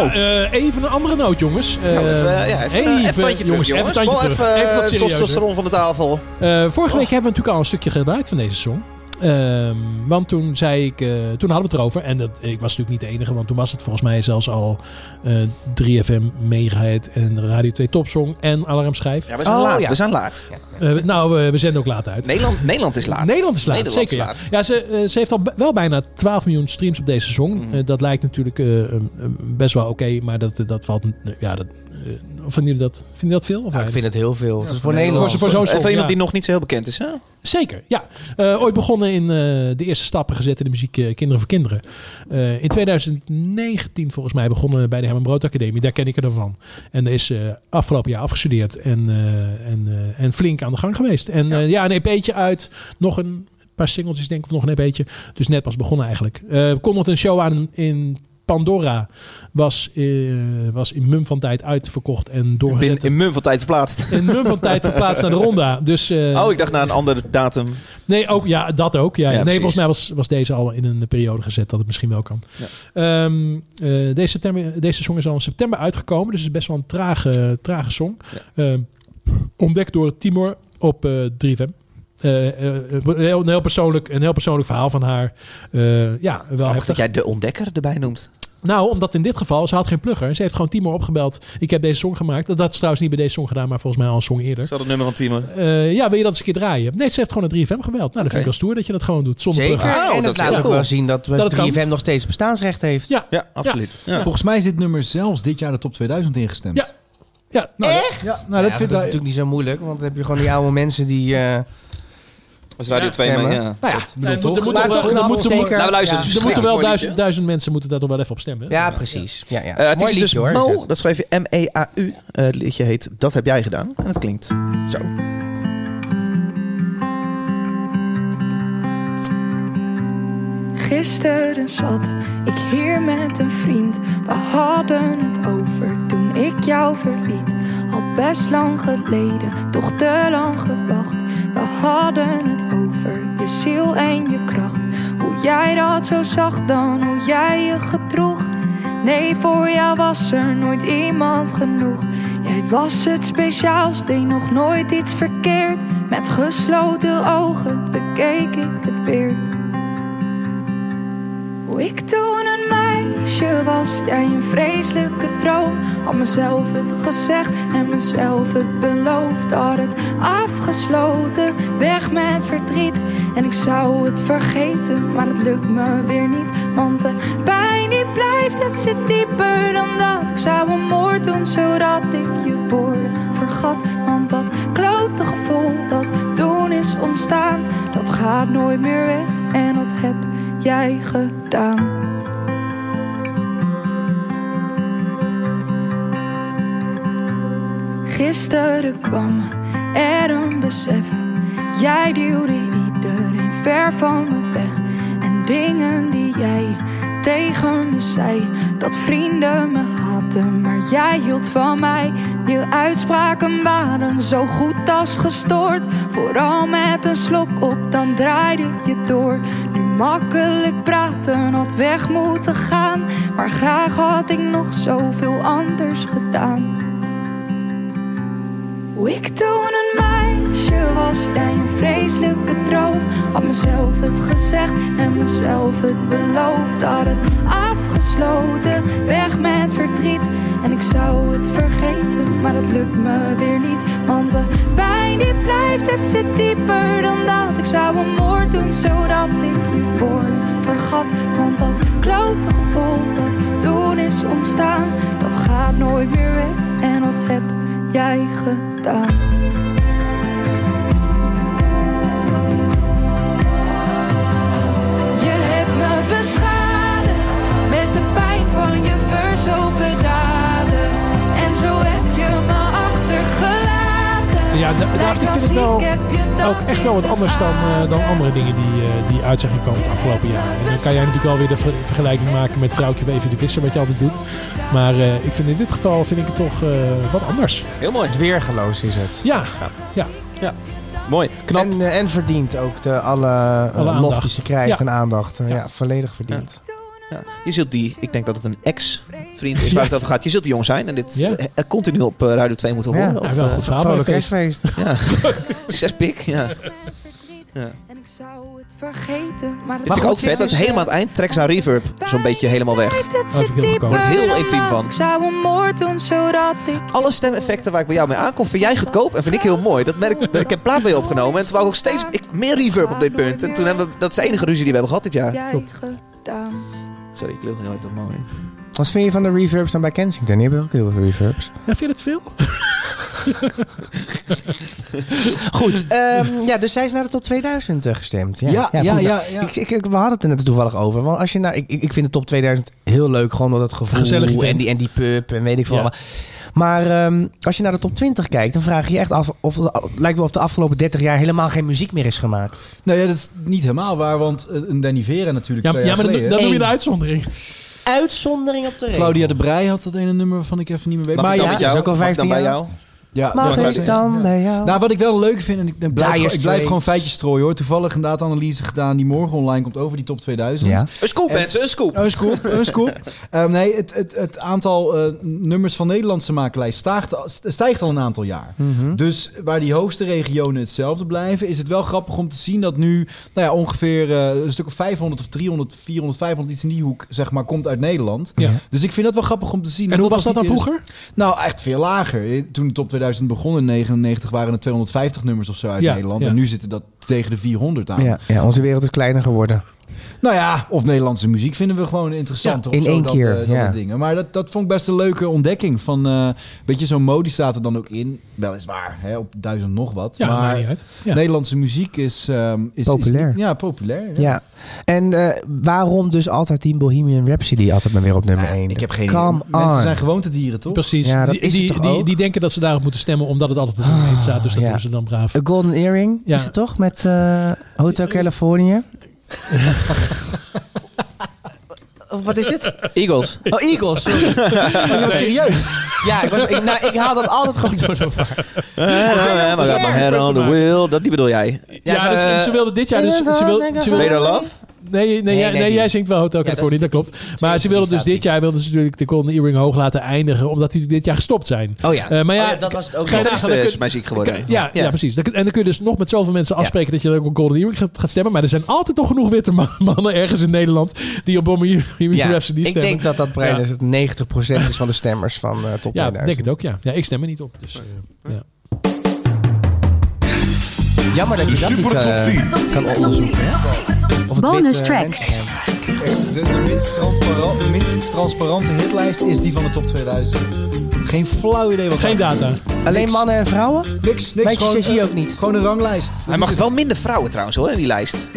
Oh,
Eh, even een andere noot, jongens. Eh,
nou, even, eh, ja, even, eh, even tandje terug,
Even
jongens.
een tandje
Wel
terug.
even,
Even wat
eh,
serieuzer.
testosteron van de tafel.
Oh,
Eh, vorige week hebben we natuurlijk al een stukje gedraaid van deze song. Ehm, want toen zei ik, eh, toen hadden we het erover. En dat, ik was natuurlijk niet de enige, want toen was het volgens mij zelfs al eh, 3FM Megahead en Radio 2 Topsong en Alarmschijf.
Ja, we zijn
Oh,
laat.
ja.
We zijn laat.
Eh, nou, we- we zenden ook laat uit.
Nederland, Nederland is laat.
Nederland is laat,
Nederland
zeker.
is
ja. Ja, ze, eh, ze heeft al b- wel bijna 12 miljoen streams op deze song.
Mhm.
Eh, dat lijkt natuurlijk eh, eh, best wel oké, maar dat, dat valt... eh, ja, dat, eh, of vinden jullie dat, vinden jullie dat veel?
Nou, ik
Of weinig?
vind het heel veel. Het is voor
voor,
Nederland. Eh,
voor zo'n
Even
song,
iemand
ja.
die nog niet zo heel bekend is, hè?
Zeker, ja. Eh, ooit begonnen in eh, de eerste stappen gezet in de muziek eh, Kinderen voor Kinderen. Eh, in 2019 volgens mij begonnen bij de Herman Brood Academie. Daar ken ik er van. En is eh, afgelopen jaar afgestudeerd en, eh, en, eh, en flink aan de gang geweest. En ja, ja een EP'tje uit. Nog een paar singeltjes denk ik, of nog een EP'tje. Dus net pas begonnen eigenlijk. Eh kondigde een show aan in... Pandora was, eh, was in mum van tijd uitverkocht en
Bin
doorgezet.
in mum van tijd verplaatst.
In mum van tijd verplaatst naar de Ronda. Dus, eh,
Oh, ik dacht naar een andere datum.
Nee, ook, ja, dat ook. Ja.
Ja,
nee,
precies.
volgens mij was, was deze al in een periode gezet dat het misschien wel kan. Ehm, eh, deze, september, deze song is al in september uitgekomen, dus het is best wel een trage, trage song. Ehm, ontdekt door Timor op eh 3FM. Eh, eh, een, heel, een heel persoonlijk, een heel persoonlijk verhaal van haar. Eh, ja, wel
Grappig
heftig.
dat jij de ontdekker erbij noemt.
Nou, omdat in dit geval, ze had geen plugger. Ze heeft gewoon Timor opgebeld. Ik heb deze song gemaakt. Dat, dat is trouwens niet bij deze song gedaan, maar volgens mij al een song eerder.
dat het nummer van Timo?
Eh, ja, wil je dat eens een keer draaien? Nee, ze heeft gewoon een 3FM gebeld. Nou, dat vind ik wel stoer dat je dat gewoon doet. Zonder
Zeker.
plugger.
Oh,
en
dat
dat
is
laat
heel
ook
cool.
wel zien dat
Dat het kan.
3FM nog steeds bestaansrecht heeft.
Ja,
Ja, absoluut. Ja.
Volgens mij is dit nummer zelfs dit jaar de top 2000 ingestemd.
Ja. ja
Eh,
nou,
Echt? Ja, nou, dat
Ja,
vind
dat is
ik...
natuurlijk niet zo moeilijk, want dan heb je gewoon die oude mensen die... eh,
Was Radio
Ja,
2 mee,
zeg maar.
ja.
Nou ja, ik bedoel,
eh, moet-
toch?
moet-
maar
wel-
toch
dan
knap,
moeten we-
zeker. Nou,
Laten
we luisteren.
Ja.
Dus-
er moeten wel
Mooi
duizend,
liedje.
duizend mensen moeten daar toch wel even op stemmen. hè?
Ja, precies. Ja, ja.
Eh, het is
Mooi
dus
liedje, hoor, is
Mo,
het.
dat schreef je M-E-A-U. Eh, het liedje heet Dat heb jij gedaan. En het klinkt zo.
Gisteren zat ik hier met een vriend. We hadden het over toen ik jou verliet. Al best lang geleden, toch te lang gewacht. We hadden het over je ziel en je kracht. Hoe jij dat zo zag dan, hoe jij je gedroeg. Nee, voor jou was er nooit iemand genoeg. Jij was het speciaals, deed nog nooit iets verkeerd. Met gesloten ogen bekeek ik het weer. Hoe ik toen een meisje meisje was jij een vreselijke droom. Had mezelf het gezegd en mezelf het beloofd. Had het afgesloten, weg met verdriet. En ik zou het vergeten, maar het lukt me weer niet. Want de pijn die blijft, het zit dieper dan dat. Ik zou een moord doen zodat ik je woorden vergat. Want dat klote gevoel dat toen is ontstaan, dat gaat nooit meer weg. En dat heb jij gedaan. Gisteren kwam er een besef. Jij duwde iedereen ver van me weg. En dingen die jij tegen me zei. Dat vrienden me haatten, maar jij hield van mij. Je uitspraken waren zo goed als gestoord. Vooral met een slok op, dan draaide je door. Nu makkelijk praten had weg moeten gaan. Maar graag had ik nog zoveel anders gedaan. Hoe ik toen een meisje was, jij een vreselijke droom. Had mezelf het gezegd en mezelf het beloofd. Had het afgesloten, weg met verdriet. En ik zou het vergeten, maar het lukt me weer niet. Want de pijn die blijft, het zit dieper dan dat. Ik zou een moord doen, zodat ik je woorden vergat. Want dat klote gevoel dat toen is ontstaan, dat gaat nooit meer weg. En dat heb jij gedaan? Je hebt me beschadigd met de pijn van je verzopen daden. En zo heb je me achtergelaten.
Ja, da- David, ik vind het wel ook echt wel wat anders dan, eh, dan andere dingen die, eh, die uit zijn gekomen het afgelopen jaar. En dan kan jij natuurlijk wel weer de ver- vergelijking maken met Vrouwtje Weven de Visser, wat je altijd doet. Maar eh, ik vind in dit geval vind ik het toch eh, wat anders.
Heel mooi.
Weergeloos is het.
Ja,
Mooi. Knap.
En, eh, en verdient ook de alle, eh,
Alle
lof
aandacht.
die ze krijgt
Ja.
en aandacht. Eh,
Ja.
Ja, volledig verdiend.
Ja, je zult die, ik denk dat het een ex-vriend is waar het over gaat. Je zult die jong zijn en dit
Ja.
eh, eh, continu op eh, Radio 2 moeten
Ja.
horen.
ja
Of,
wel
eh,
een goed verhaal bij
Vrolijk
feest.
kerstfeest.
zes pik, ja. Ja.
En ik zou het vergeten, maar het dus
Dit vind ik
goed, eh,
ook vet, dat helemaal aan het eind trekt zijn reverb zo'n beetje helemaal weg.
Dat
vind ik heel goedkoop.
Wordt
eh,
heel intiem van.
Ik zou een moord doen zodat ik
Alle stemeffecten waar ik bij jou mee aankom, vind jij goedkoop en vind ik heel mooi. Dat merk ik. Ik heb plaat bij je opgenomen en toen wou ik ook steeds ik, meer reverb op dit punt. En toen hebben we, dat is de enige ruzie die we hebben gehad dit jaar.
jij
klopt.
gedaan.
Sorry, ik lul heel erg op mooi.
Wat vind je van de reverbs dan bij Kensington? Die hebben ook heel veel reverbs.
Ja, vind je het veel?
Goed, ehm, ja, dus zij is naar de top 2000 gestemd. Ja,
Ja, ja, ja.
goed.
ja,
Ik, ik, ik- we hadden het er net toevallig over. Want als je nou, ik, ik ik vind de top 2000 heel leuk. Gewoon omdat het gevoel
Gezellig event.
en die, en die pub en weet ik veel.
Ja.
allemaal. Maar ehm, als je naar de top 20 kijkt, dan vraag je je echt af of het lijkt wel of de afgelopen 30 jaar helemaal geen muziek meer is gemaakt.
Nou ja, dat is niet helemaal waar, want eh, een Danny Vera natuurlijk
Ja,
twee
ja
jaar
maar dan,
geleden.
dan noem je de
Eén.
uitzondering.
Uitzondering op de regel.
Claudia de Brij had dat ene nummer waarvan ik even niet meer weet.
Mag ik
Maar
dan
ja,
met jou?
is ook al
Mag ik dan
15
bij
jaar.
jou?
ja,
Mag
dat-
ik dan
ja.
bij jou?
Nou, wat ik wel leuk vind, en ik ik blijf,
Dire
gewoon- ik blijf gewoon
Straits.
feitjes strooien hoor. Toevallig inderdaad analyse gedaan die morgen online komt over die top 2000.
ja.
Een scoop
En- Oh,
mensen, een scoop.
Een scoop, een scoop. Eh, nee, het, het, het aantal eh, nummers van Nederlandse makelij staagt, al- st- stijgt al een aantal jaar.
Mhm.
Dus waar die hoogste regionen hetzelfde blijven, is het wel grappig om te zien dat nu nou ja, ongeveer eh, een stuk of 500 of 300, 400, 500, iets in die hoek, zeg maar, komt uit Nederland.
Ja.
Dus ik vind dat wel grappig om te zien.
En hoe was dat
niet
dan
eerst-
vroeger?
nou, echt veel lager. Eh, Toen de top 2000 begon in 99 waren er 250 nummers of zo uit
Ja,
Nederland.
ja.
En nu zitten dat tegen de 400 aan.
Ja, ja, onze wereld is kleiner geworden.
Nou ja, of Nederlandse muziek vinden we gewoon interessanter.
Ja,
of
in
zo,
één
dat,
keer,
eh, dat
ja.
soort dingen. Maar dat, dat vond ik best een leuke ontdekking. Van, eh, weet je, zo'n modi staat er dan ook in. Weliswaar, hè, op duizend nog wat.
Ja,
maar
maakt niet uit. Ja.
Nederlandse muziek is... ehm, is- is
Populair.
ja, populair. ja.
Ja. En eh, waarom dus altijd die Bohemian Rhapsody altijd maar weer op nummer 1?
Ik heb geen
Come
idee. Mensen
on.
zijn gewoontedieren, toch?
Precies.
Oh. Ja, dat
die,
is het
die,
toch
die,
ook? Ah,
die denken dat ze daarop moeten stemmen omdat het altijd op nummer 1 staat. Dus dat
ja.
doen ze dan braaf.
A Golden Earring
Ja.
is het toch? Met eh, Hotel California. Wat is het?
Eagles.
Oh, Eagles. sorry.
Ja, serieus.
Ja, ik, was, ik, nou, ik haal dat altijd gewoon door zo'n vaart.
Eh, I got my head on the wheel. Dat die bedoel jij.
Ja, dus,
eh,
ze wilde dit jaar dus... Ze wil, ze wil,
Radar Love?
nee, nee, jij-
nee,
nee,
die.
jij zingt wel Hotel California, dat klopt. Maar ze wilden dus dit jaar wilden ze natuurlijk de Golden Earring hoog laten eindigen, omdat die dit jaar gestopt zijn.
Oh ja.
Eh, maar ja,
Oh dat was het ook.
Gert-
nog.
Gitarist
dan
eh,
kun-
is mij ziek geworden.
Ja, ja. precies. Dan- En dan kun je dus nog met zoveel mensen afspreken dat je dan ook op Golden Earring gaat- gaat stemmen. Maar er zijn altijd nog genoeg witte man- mannen ergens in Nederland die op Bomme Earring
Ja,
Rhapsody
ik
stemmen.
denk dat dat
Ja.
bijna het 90% is van de stemmers van eh top
ja,
2000.
ik denk het ook, ja. Ja, ik stem er niet op. Dus, eh, ja.
Jammer dat je dat niet eh, kan onderzoeken. hè? Of het
Bonus
wit, eh,
track.
mensen zijn.
Echt, de, de minst, transparan- de minst transparante hitlijst is die van de top 2000. Geen flauw idee wat
Geen
daar-
data.
Alleen mannen en vrouwen?
Niks, niks.
Meisjes
gewoon,
is hier
eh,
ook niet.
Gewoon een ranglijst.
Hij mag wel minder vrouwen trouwens hoor, in die lijst.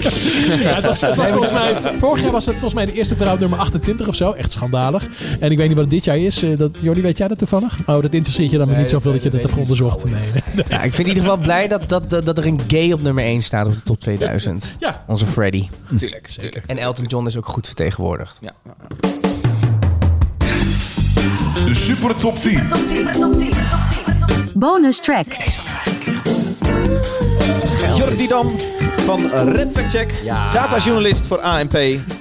Ja, het was, het was volgens mij, vorig jaar was het volgens mij de eerste vrouw op nummer 28 of zo. Echt schandalig. En ik weet niet wat het dit jaar is. Eh, Dat, Jordi, weet jij dat toevallig? Oh, dat interesseert je dan weer niet zoveel dat je dat hebt onderzocht. Nee, nee.
Ja, ik vind in ieder geval blij dat, dat, dat, dat er een gay op nummer 1 staat op de top 2000.
Ja.
Onze Freddy.
Tuurlijk, tuurlijk.
En Elton John is ook goed vertegenwoordigd.
Ja. ja.
De super top 10.
Bonus track.
Jordi Dam van Rap Fact Check, datajournalist voor ANP,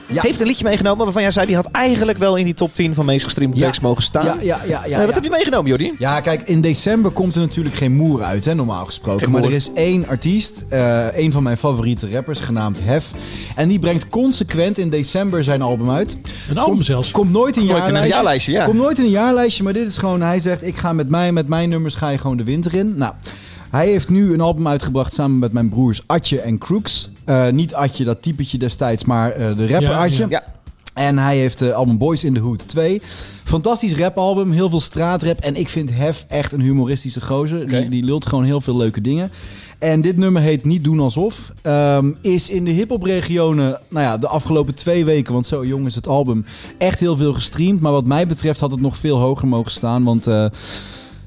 heeft een liedje meegenomen waarvan jij zei die had eigenlijk wel in die top 10 van meest gestreamde
Ja.
tracks mogen staan.
Ja, ja, ja, ja,
Eh, wat
ja.
heb je meegenomen, Jordi?
Ja, kijk, in december komt er natuurlijk geen moer uit, hè, normaal gesproken.
Geen
Maar
moer.
er is één artiest, eh een van mijn favoriete rappers, genaamd Hef. En die brengt consequent in december zijn album uit.
Een album
Komt-
zelfs.
Komt nooit in een
Nooit in een
jaarlijstje.
jaarlijstje, ja.
Komt nooit in een jaarlijstje, maar dit is gewoon... Hij zegt, ik ga met mij, met mijn nummers ga je gewoon de winter in. Nou, hij heeft nu een album uitgebracht samen met mijn broers Atje en Crooks. Eh, niet Atje, dat typetje destijds, maar eh, de rapper
Ja,
Atje.
ja.
Ja.
En hij heeft de album Boys in the Hood 2. Fantastisch rapalbum, heel veel straatrap. En ik vind Hef echt een humoristische gozer. Die, die lult gewoon heel veel leuke dingen. En dit nummer heet Niet Doen Alsof. Ehm, is in de hiphopregionen, nou ja, de afgelopen twee weken, want zo jong is het album, echt heel veel gestreamd. Maar wat mij betreft had het nog veel hoger mogen staan, want eh,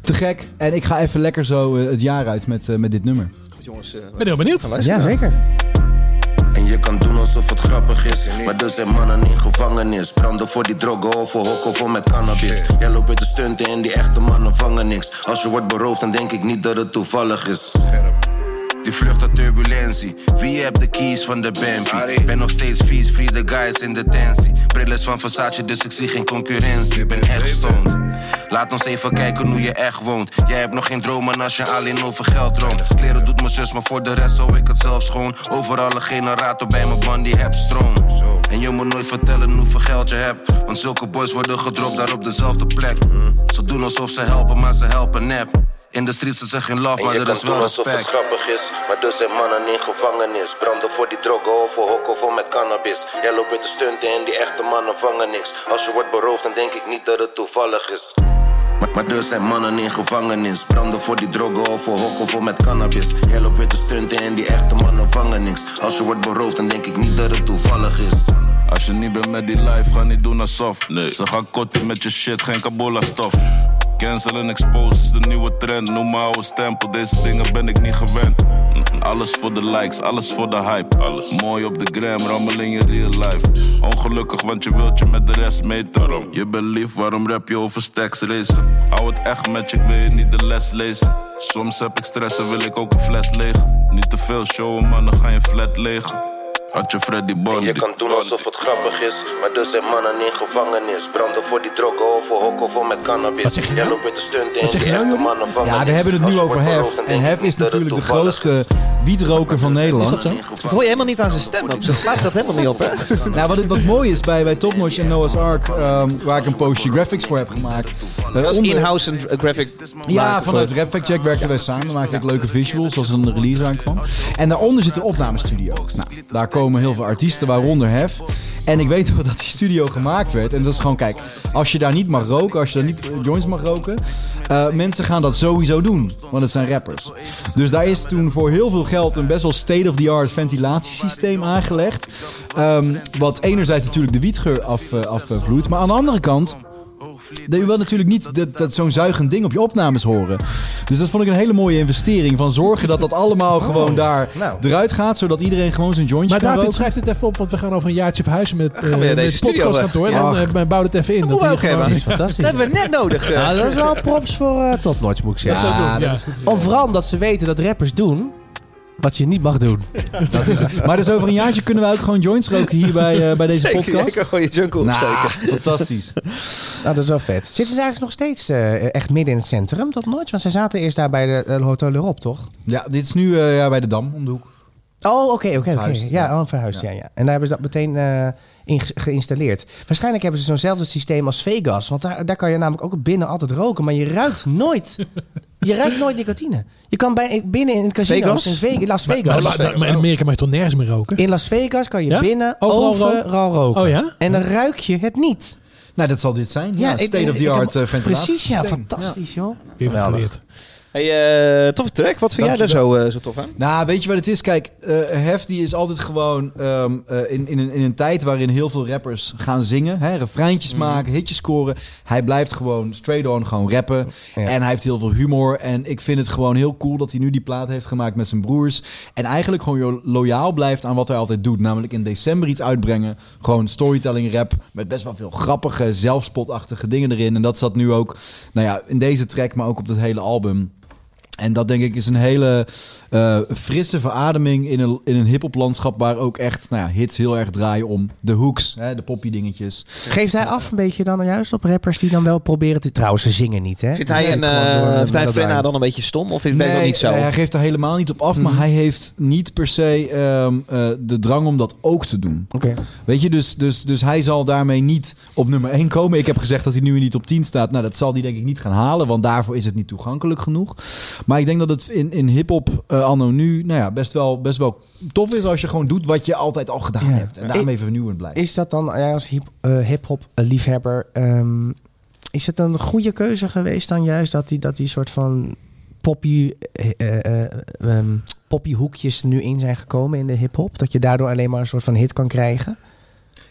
te gek. En ik ga even lekker zo eh, het jaar uit met, eh, met dit nummer.
Jongens, eh,
Ik ben heel benieuwd.
Ja, zeker.
En je kan doen alsof het grappig is. Maar er zijn mannen in gevangenis. Branden voor die drogen of voor hokken vol met cannabis. Jij loopt weer te stunten en die echte mannen vangen niks. Als je wordt beroofd, dan denk ik niet dat het toevallig is. Die vlucht uit turbulentie. Wie hebt de keys van de Bambi? Ben nog steeds vies, free the guys in detentie. Bril is van Versace, dus ik zie geen concurrentie. Ik ben echt stoned. Laat ons even kijken hoe je echt woont. Jij hebt nog geen dromen als je alleen over geld droomt. Kleren doet mijn zus, maar voor de rest hou ik het zelf schoon. Overal een generator bij mijn man die heb stroom. En je moet nooit vertellen hoeveel geld je hebt. Want zulke boys worden gedropt daar op dezelfde plek. Ze doen alsof ze helpen, maar ze helpen nep. In de streets is er geen love, maar er is wel respect. Alsof het grappig is, maar er zijn mannen in gevangenis. Branden voor die drogen of voor hokken vol met cannabis. Jij loopt weer te stunten en die echte mannen vangen niks. Als je wordt beroofd, dan denk ik niet dat het toevallig is. Maar, maar er zijn mannen in gevangenis. Branden voor die drogen of voor hokken vol met cannabis. Jij loopt weer te stunten en die echte mannen vangen niks. Als je wordt beroofd, dan denk ik niet dat het toevallig is.
Als je niet bent met die life, ga niet doen alsof. Nee. Ze gaan kotten met je shit, geen Cabola-stof. Cancel en expose is de nieuwe trend. Noem maar oude stempel, deze dingen ben ik niet gewend. Mm, Alles voor de likes, alles voor de hype. Alles. Mooi op de gram, rammel in je real life. Ongelukkig, want je wilt je met de rest mee daarom. Je bent lief, waarom rap je over stacks racen? Hou het echt met je, ik wil je niet de les lezen. Soms heb ik stress en wil ik ook een fles leeg. Niet te veel showen, man, dan ga je flat leeg. Had je Freddy
En
Bondi.
je kan doen alsof het grappig is, maar er zijn mannen in gevangenis. Branden voor die drogen of voor hokken vol met cannabis.
Wat zeg je nou?
Jij loopt weer te stunten
Wat
en
zeg
die
je nou,
echte
Jordi?
mannen vangen
Ja, we
niks.
hebben het
Als
nu
je
over
wordt
Hef.
beroofd, dan
En
denk ik
Hef is
niet dat het
natuurlijk de
toevallig
grootste
is.
wietroker van Nederland.
Dat hoor je helemaal niet aan zijn stem op. Ze slaat dat helemaal niet op, hè?
Nou, wat, het- wat mooi is bij, bij Topnotch en Noah's Ark, ehm, waar ik een postje graphics voor heb gemaakt. eh,
Dat is
onder-
in-house en eh, graphic.
Ja,
maken
vanuit
voor-
Rap Fact Check werkten wij samen. Maakte ik leuke visuals als er een release aankwam. En daaronder zit een opnamestudio. Nou, daar komen heel veel artiesten, waaronder Hef. En ik weet wel dat die studio gemaakt werd. En dat is gewoon, kijk, als je daar niet mag roken, als je daar niet eh, joints mag roken, eh, mensen gaan dat sowieso doen. Want het zijn rappers. Dus daar is toen voor heel veel geld een best wel state-of-the-art ventilatiesysteem aangelegd. Ehm, wat enerzijds natuurlijk de wietgeur af, eh, afvloeit, maar aan de andere kant dat je wil natuurlijk niet dat, dat zo'n zuigend ding op je opnames horen. Dus dat vond ik een hele mooie investering. Van zorgen dat dat
Oh.
allemaal gewoon daar
nou.
eruit gaat. Zodat iedereen gewoon zijn jointje
Maar
kan
David,
roken.
schrijf dit even op, want we gaan over een jaartje verhuizen met,
we
eh,
deze
met het
studio
podcastkantoor.
hebben.
En dan
Ja.
eh, bouw dit even in.
Moet
hier
ook
gewoon-
hebben.
Dat is fantastisch.
eh, Dat hebben we net nodig. eh.
Ja, dat is wel props voor eh, Top Notch, moet ik
Dat
zeggen.
zou ik doen,
Ja,
ja.
dat is goed. Om vooral omdat ze weten dat rappers doen. Wat je niet mag doen.
Dat is het. Maar dus over een jaartje kunnen we ook gewoon joints roken hier bij, eh, bij deze
Zeker,
podcast.
jij kan gewoon je jungle
Nou,
opsteken.
fantastisch.
Nou, dat is wel vet. Zitten ze eigenlijk nog steeds eh, echt midden in het centrum? Dat nooit, want zij zaten eerst daar bij de eh, Hotel Europe, toch?
Ja, dit is nu eh, ja, bij de Dam om de hoek.
Oh, oké, oké, oké.
Verhuisd,
Ja,
ja.
oh, verhuisd, ja. ja, En daar hebben ze dat meteen eh, in ge- geïnstalleerd. Waarschijnlijk hebben ze zo'nzelfde systeem als Vegas. Want daar, daar kan je namelijk ook binnen altijd roken. Maar je ruikt nooit. je ruikt nooit nicotine. Je kan bij, binnen in
Vegas?
casino's in Ve- in Las
Maar,
Vegas.
maar- maar- maar in Amerika mag je toch nergens meer roken?
in Las Vegas kan je
Ja?
binnen
Overal
overal, roken.
Oh ja?
En dan ruik je het niet.
Nou, dat zal dit zijn. Ja,
ik-
state
ik-
of the
ik heb-
art eh, ventilatie.
Precies, ja.
systeem.
Fantastisch, joh.
Weer wat
Geweldig.
geleerd.
Hey, eh toffe track. Wat vind jij daar zo, eh, zo tof aan?
Nou, weet je wat het is? Kijk, eh, Hef die is altijd gewoon ehm, eh, in, in, een, in een tijd waarin heel veel rappers gaan zingen. Hè, refreintjes
Mhm.
maken, hitjes scoren. Hij blijft gewoon straight on gewoon rappen.
Ja.
En hij heeft heel veel humor. En ik vind het gewoon heel cool dat hij nu die plaat heeft gemaakt met zijn broers. En eigenlijk gewoon jo- loyaal blijft aan wat hij altijd doet. Namelijk in december iets uitbrengen. Gewoon storytelling rap met best wel veel grappige, zelfspotachtige dingen erin. En dat zat nu ook, nou ja, in deze track, maar ook op dat hele album. En dat denk ik is een hele eh, frisse verademing in een, in een hip-hop landschap waar ook echt nou ja, hits heel erg draaien om de hooks, hè, de poppy dingetjes.
Geeft hij af een beetje dan juist op rappers die dan wel proberen te... Trouwens, ze zingen niet, hè?
Zit hij,
Ja,
en,
gewoon door-
eh
door-
heeft hij
door-
Frenna dan een beetje stom? Of is het wel niet zo? Mhm.
eh, hij geeft er helemaal niet op af, maar hij heeft niet per se ehm, eh, de drang om dat ook te doen.
Oké.
Weet je, dus, dus, dus hij zal daarmee niet op nummer 1 komen. Ik heb gezegd dat hij nu niet op 10 staat. Nou, dat zal hij denk ik niet gaan halen, want daarvoor is het niet toegankelijk genoeg. Maar ik denk dat het in, in hip-hop eh, anno nu nou ja, best, wel, best wel tof is als je gewoon doet wat je altijd al gedaan
Ja.
hebt. En daarmee vernieuwend blijft.
Is dat dan, ja, als hip- eh, hip-hop liefhebber, ehm, is het dan een goede keuze geweest dan juist dat die, dat die soort van poppy, eh, eh, eh, ehm, poppy hoekjes nu in zijn gekomen in de hip-hop? Dat je daardoor alleen maar een soort van hit kan krijgen?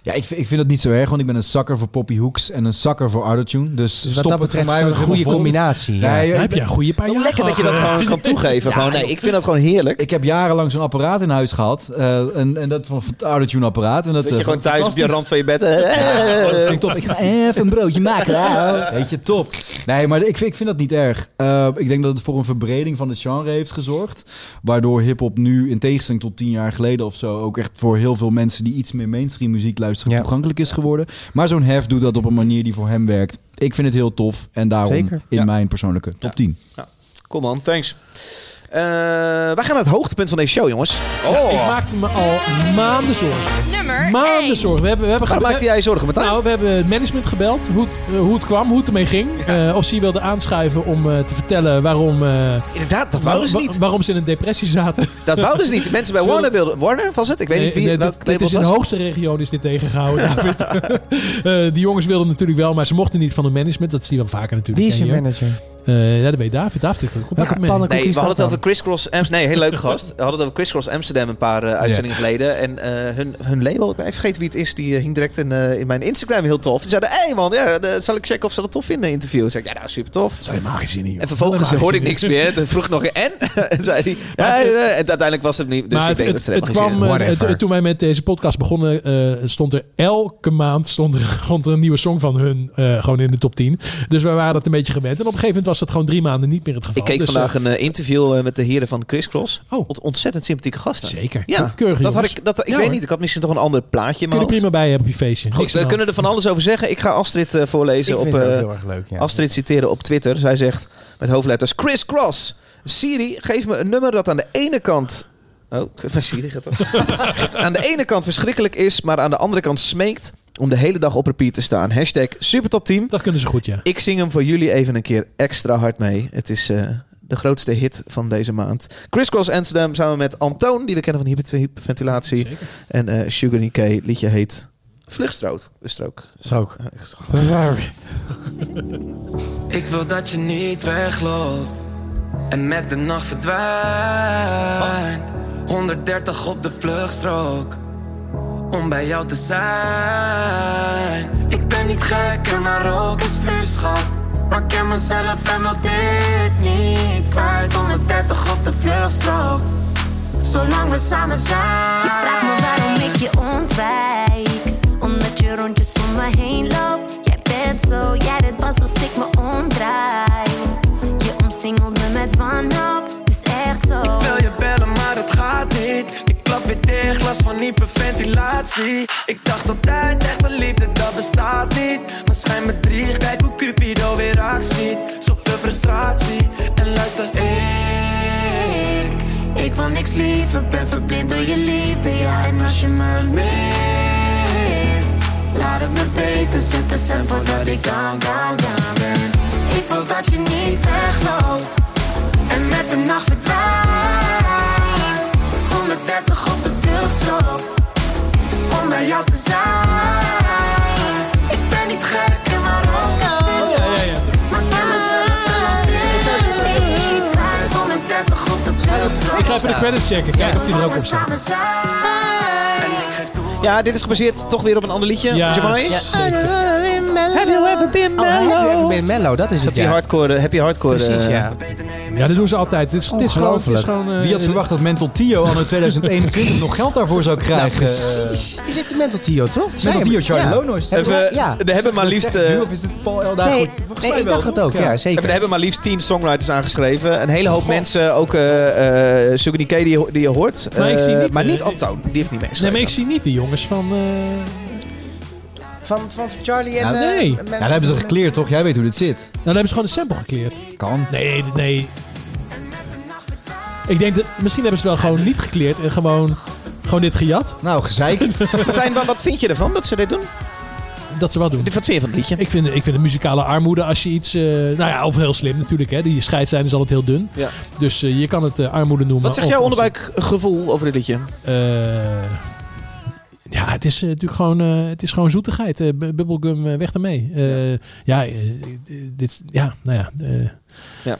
Ja, ik, vind- ik vind dat niet zo erg, want ik ben een zakker voor Poppy Hooks en een zakker voor Autotune. Dus,
Dus
stop
wat dat betreft is
het
het
voor mij
een goede
helemaal vol.
combinatie. Ja.
Nee,
Dan
ik,
heb je een goede paar jaar
Oh, Lekker dat je dat
gehad,
gewoon kan toegeven. gewoon, nee, ik vind dat gewoon heerlijk.
ik heb jarenlang zo'n apparaat in huis gehad. eh, en, en dat van het Autotune apparaat. En dat,
Dat je
eh,
gewoon thuis op je
fantastisch.
rand van je bed. eh, eh, eh,
Dat klinkt top. Ik ga even een broodje maken. hè. Weet je, top. Nee, maar ik vind, ik vind dat niet erg. Eh, ik denk dat het voor een verbreding van het genre heeft gezorgd. Waardoor hip-hop nu, in tegenstelling tot tien jaar geleden of zo, ook echt voor heel veel mensen die iets meer mainstream muziek luisteren,
Ja.
toegankelijk is geworden. Maar zo'n hef doet dat op een manier die voor hem werkt. Ik vind het heel tof. En daarom
Zeker.
in
Ja.
mijn persoonlijke top
Ja.
10.
Kom man, thanks. Eh, wij gaan naar het hoogtepunt van deze show, jongens. Oh,
Ik maakte me al maanden zorgen.
Nummer 1.
Maanden zorgen. We hebben, we hebben
waar
we-
maakte jij je zorgen, Martijn?
Nou, we hebben het management gebeld. Hoe het, eh, hoe het kwam, hoe het ermee ging. Eh, of ze hier wilden aanschuiven om eh, te vertellen waarom, eh,
Inderdaad, dat
wa-
wouden ze
wa-
niet.
waarom ze in een depressie zaten.
Dat wouden ze niet. De mensen bij
Ze
Warner wilden... Warner was het? Ik weet niet wie,
Nee, nee,
welk
dit,
label
dit is
het
in de
was.
hoogste regio is dit tegengehouden, David. Eh, die jongens wilden natuurlijk wel, maar ze mochten niet van hun management. Dat zie je wel vaker natuurlijk.
Wie is
hè,
je
hier.
manager?
Eh, ja, dat weet David. David komt
Ja,
altijd mee.
pannenkoek.
Nee,
Hoe
we
is
hadden het
dat
over Crisscross Amsterdam. Nee, heel leuk gast. We hadden het over Crisscross Amsterdam een paar eh, uitzendingen geleden. En eh, hun, hun label, ik ben even vergeten wie het is, die eh, hing direct in, eh, in mijn Instagram heel tof. Die zeiden, hé hey man, ja, eh, zal ik checken of ze dat tof vinden, interview. Zeg ik, ja, nou, super tof.
Dat zou helemaal geen zin in, joh.
En vervolgens
Helemaal
hoorde ik
geen
niks
zin in.
meer. Toen vroeg ik nog, en? en zei hij, ja,
het-
eh, en uiteindelijk was het niet. Dus
maar
ik denk
het,
dat ze
het, het
helemaal geen
kwam,
zin
eh,
Whatever.
het- eh, toen wij met deze podcast begonnen, eh, stond er elke maand stond er, stond er een nieuwe song van hun eh, gewoon in de top 10. Dus wij waren dat een beetje gewend. En op een gegeven moment was dat gewoon drie maanden niet meer het geval.
Ik keek
Dus,
vandaag een eh, interview eh, met de heren van Crisscross.
Oh.
Ont- Ontzettend sympathieke gasten.
eh, zeker.
Ja,
Keurige
dat had
jongens.
ik, dat, ik
Ja,
weet
hoor.
niet. Ik had misschien toch een ander plaatje in
Kun
mijn
je er
hoofd.
prima bij hebben op je feestje.
Goed,
Niks aan
we
de
kunnen er
hand.
van alles over zeggen. Ik ga Astrid eh,
Ik
voorlezen op...
vind het ook
eh,
heel erg leuk, ja.
Astrid citeren op Twitter. Zij zegt met hoofdletters Chris Cross. Siri, geef me een nummer dat aan de ene kant... Oh, mijn Siri gaat op. Echt, aan de ene kant verschrikkelijk is, maar aan de andere kant smeekt om de hele dag op repeat te staan. Hashtag supertopteam.
Dat kunnen ze goed, ja.
Ik zing hem voor jullie even een keer extra hard mee. Het is eh, de grootste hit van deze maand. Chris Cross Amsterdam samen met Antoon, die we kennen van hyper- hyperventilatie.
Zeker.
En eh Sugar Nikkei, liedje heet Vluchtstrook. De strook.
Strook.
Eh, ik-
Ik wil dat je niet wegloopt en met de nacht verdwijnt. 130 op de vluchtstrook om bij jou te zijn. Ik ben niet gek en maar ook is vuurschap. Maar ik ken mezelf en wil dit niet kwijt. 130 op de vluchtstrook, zolang we samen zijn.
Je vraagt me waarom ik je ontwijk. Omdat je rondjes om me heen loopt. Jij bent zo, jij bent pas als ik me omdraai. Je omsingelt me met wanhoop, het is echt zo.
Ik wil je bellen, maar het gaat ventilatie Ik dacht altijd echt een liefde dat bestaat niet Maar schijn me drie, kijk hoe Cupido weer actie Zoveel frustratie en luister
ik. Ik wil niks liever, ben verblind door je liefde. Ja, en als je me mist, laat het me weten. Zet de cent voordat ik down, down, down ben. Ik wil dat je niet wegloopt en met de nacht verdwijnt. 130 op de veelstroop, om bij jou te zijn. Ik ben niet gek en maar ook een zwitser.
Ja, ja, ja.
Maar ik ben mezelf wel aan dit niet kwijt. 130 op de vluchtstrook.
Ik ga even de credits checken. Kijken of die er ook op staat.
Ja, dit is gebaseerd toch weer op een ander liedje.
Ja.
Jamai?
Ja.
Have you ever been
Oh, Have You Ever Been Mellow, dat
Is
is
dat
het,
die
ja.
hardcore, happy hardcore?
Precies,
eh,
ja.
Ja, dat doen ze altijd. Dit is, dit is gewoon... Dit is gewoon eh,
Wie had verwacht dat Mental Tio anno 2021 nog geld daarvoor zou krijgen?
Precies. Is het de Mental Tio, toch?
Eh, Mental Tio, Charlie
Ja.
Lonois.
Even,
Ja. Ja.
Er hebben maar liefst... eh,
Of is het Paul Elda?
Nee,
Goed, volgens
nee,
mij
ik
wel,
dacht het
toch?
ook, ja,
Even, er
zeker.
hebben maar liefst tien songwriters aangeschreven. Een hele hoop mensen, ook eh eh Sugar D. K die, je ho- die je hoort.
Maar ik
Eh,
zie niet,
maar
eh,
niet
ik-
Antoon, die heeft niet
Nee,
meegeschreven.
maar ik zie niet de jongens van... eh,
Van, van Charlie
Ja,
en... eh,
nee.
Mental-
Ja, daar hebben ze gekleerd, toch? Jij weet hoe dit zit.
Nou, dan hebben ze gewoon een sample gekleerd.
Kan.
Nee, nee. Ik denk dat... Misschien hebben ze wel gewoon niet gekleerd en gewoon... Gewoon dit gejat.
Nou, gezeik.
Martijn, wa- wat vind je ervan dat ze dit doen?
Dat ze wat doen.
Wat vind je van het liedje?
Ik vind, ik vind de muzikale armoede als je iets... eh, nou ja, of heel slim natuurlijk. Hè. Die scheidslijn is altijd heel dun.
Ja.
Dus eh, je kan het eh, armoede noemen.
Wat zegt
of-
jouw
of-
onderbuikgevoel over dit liedje?
Eh, ja, het is eh, natuurlijk gewoon, eh, het is gewoon zoetigheid. Eh, bu- bubblegum, eh, weg ermee. Eh, ja, eh, dit, ja, nou ja. eh,
Ja.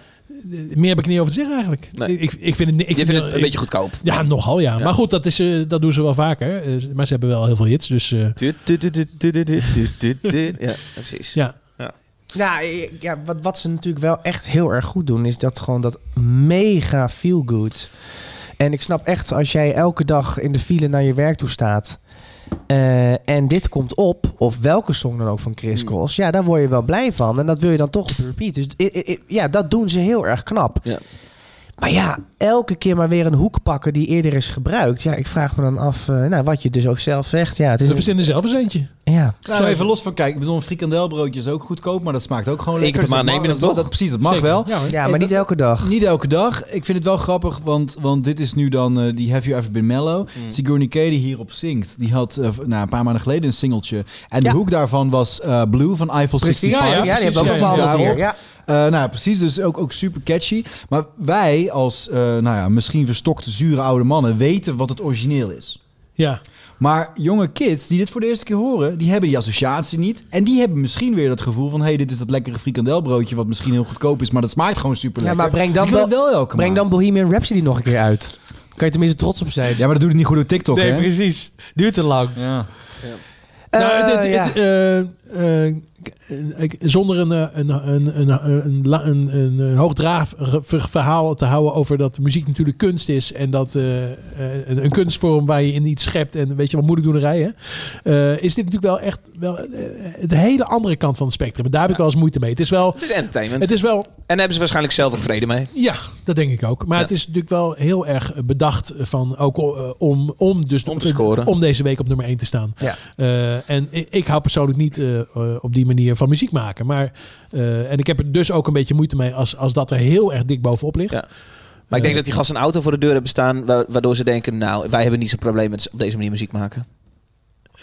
eh, Meer heb ik niet over te zeggen eigenlijk.
Nee.
Ik, ik vind het, ni- ik
Je vindt het een
ik-
beetje goedkoop.
Ja, nogal ja. Maar goed, dat, is, eh, dat doen ze wel vaker. Eh, maar ze hebben wel heel veel hits, dus eh,
Du- du- du- du- du- du- du- du- du- du- Ja, precies.
ja.
Nou, eh, ja, wat, wat ze natuurlijk wel echt heel erg goed doen, is dat gewoon dat mega feel good. En ik snap echt, als jij elke dag in de file naar je werk toe staat. eh, en dit komt op, of welke song dan ook van Chris Cross. Ja, daar word je wel blij van. En dat wil je dan toch op repeat. Dus i- i- i- ja, dat doen ze heel erg knap.
Ja.
Maar ja, elke keer maar weer een hoek pakken die eerder is gebruikt. Ja, ik vraag me dan af, eh, nou, wat je dus ook zelf zegt. Ja, het is
Ze
een-
verzinnen zelf eens eentje.
ja.
Nou, even los van, kijk, ik bedoel, een frikandelbroodje is ook goedkoop, maar dat smaakt ook gewoon
Eén keer
lekker.
per maand
Dus dat
neem je
mag-
hem toch?
dat- Precies, dat mag
Zeker.
wel.
Ja, hoor.
ja,
Eh,
maar niet
dat-
elke dag.
Niet elke dag. Ik vind het wel grappig, want, want dit is nu dan eh, die Have You Ever Been Mellow.
Hmm.
Sigourney K die hierop zingt, die had eh, v- nou, een paar maanden geleden een singeltje. En
Ja.
de hoek daarvan was eh, Blue van Eiffel 65.
Ja,
Ja,
ja,
die
precies,
hebben ook
ja,
een bepaald
ja.
hier. Ja.
Eh, nou, ja, precies. Dus ook, ook super catchy. Maar wij als, eh, nou ja, misschien verstokte, zure oude mannen weten wat het origineel is.
Ja.
Maar jonge kids die dit voor de eerste keer horen, die hebben die associatie niet. En die hebben misschien weer dat gevoel van... hé, hey, dit is dat lekkere frikandelbroodje wat misschien heel goedkoop is... maar dat smaakt gewoon super lekker.
Ja, maar breng dan
dus ik wil
wel-
het wel elke
Breng dan
maand.
Bohemian Rhapsody nog een keer uit. Kan je tenminste trots op zijn.
Ja, maar dat doet het niet goed op TikTok, hè?
precies. Duurt te lang.
Ja.
Nou, het- het- het, eh, eh, ik- Zonder een, eh, een, een, een, een, la- een, een, eh, hoogdravig verhaal te houden over dat muziek natuurlijk kunst is. En dat eh, eh, een, een kunstvorm waar je in iets schept en weet je wat moeilijk doen rijden. is dit natuurlijk wel echt wel, eh, de hele andere kant van het spectrum. En daar heb ik wel eens moeite mee. Het is wel...
Het is entertainment.
Het is wel
En daar hebben ze waarschijnlijk zelf ook vrede mee.
ja, dat denk ik ook. Maar
Ja.
het is natuurlijk wel heel erg eh, bedacht van ook eh, om, om, dus
Om te scoren.
om deze week op nummer 1 te staan.
Ja.
Eh, en i- ik hou persoonlijk niet eh, eh, op die manier van muziek maken. Maar, eh, en ik heb er dus ook een beetje moeite mee als, als dat er heel erg dik bovenop ligt. Nou,
Ja. Maar ik denk dat die gasten een auto voor de deur hebben staan... wa- waardoor ze denken, nou, wij hebben niet zo'n probleem met op deze manier muziek maken.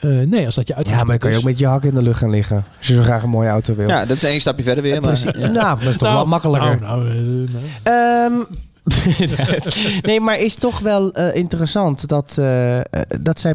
Eh, nee, als dat je uit.
Ja, maar dan kan je ook met je hak in de lucht gaan liggen. Als je zo graag een mooie auto wil.
Ja, dat is één stapje verder weer. Maar,
Precies.
ja.
Nou, dat is toch wel makkelijker.
Nou, nou, eh, nou.
Ehm, nee, maar is toch wel eh, interessant dat, eh, eh, dat zij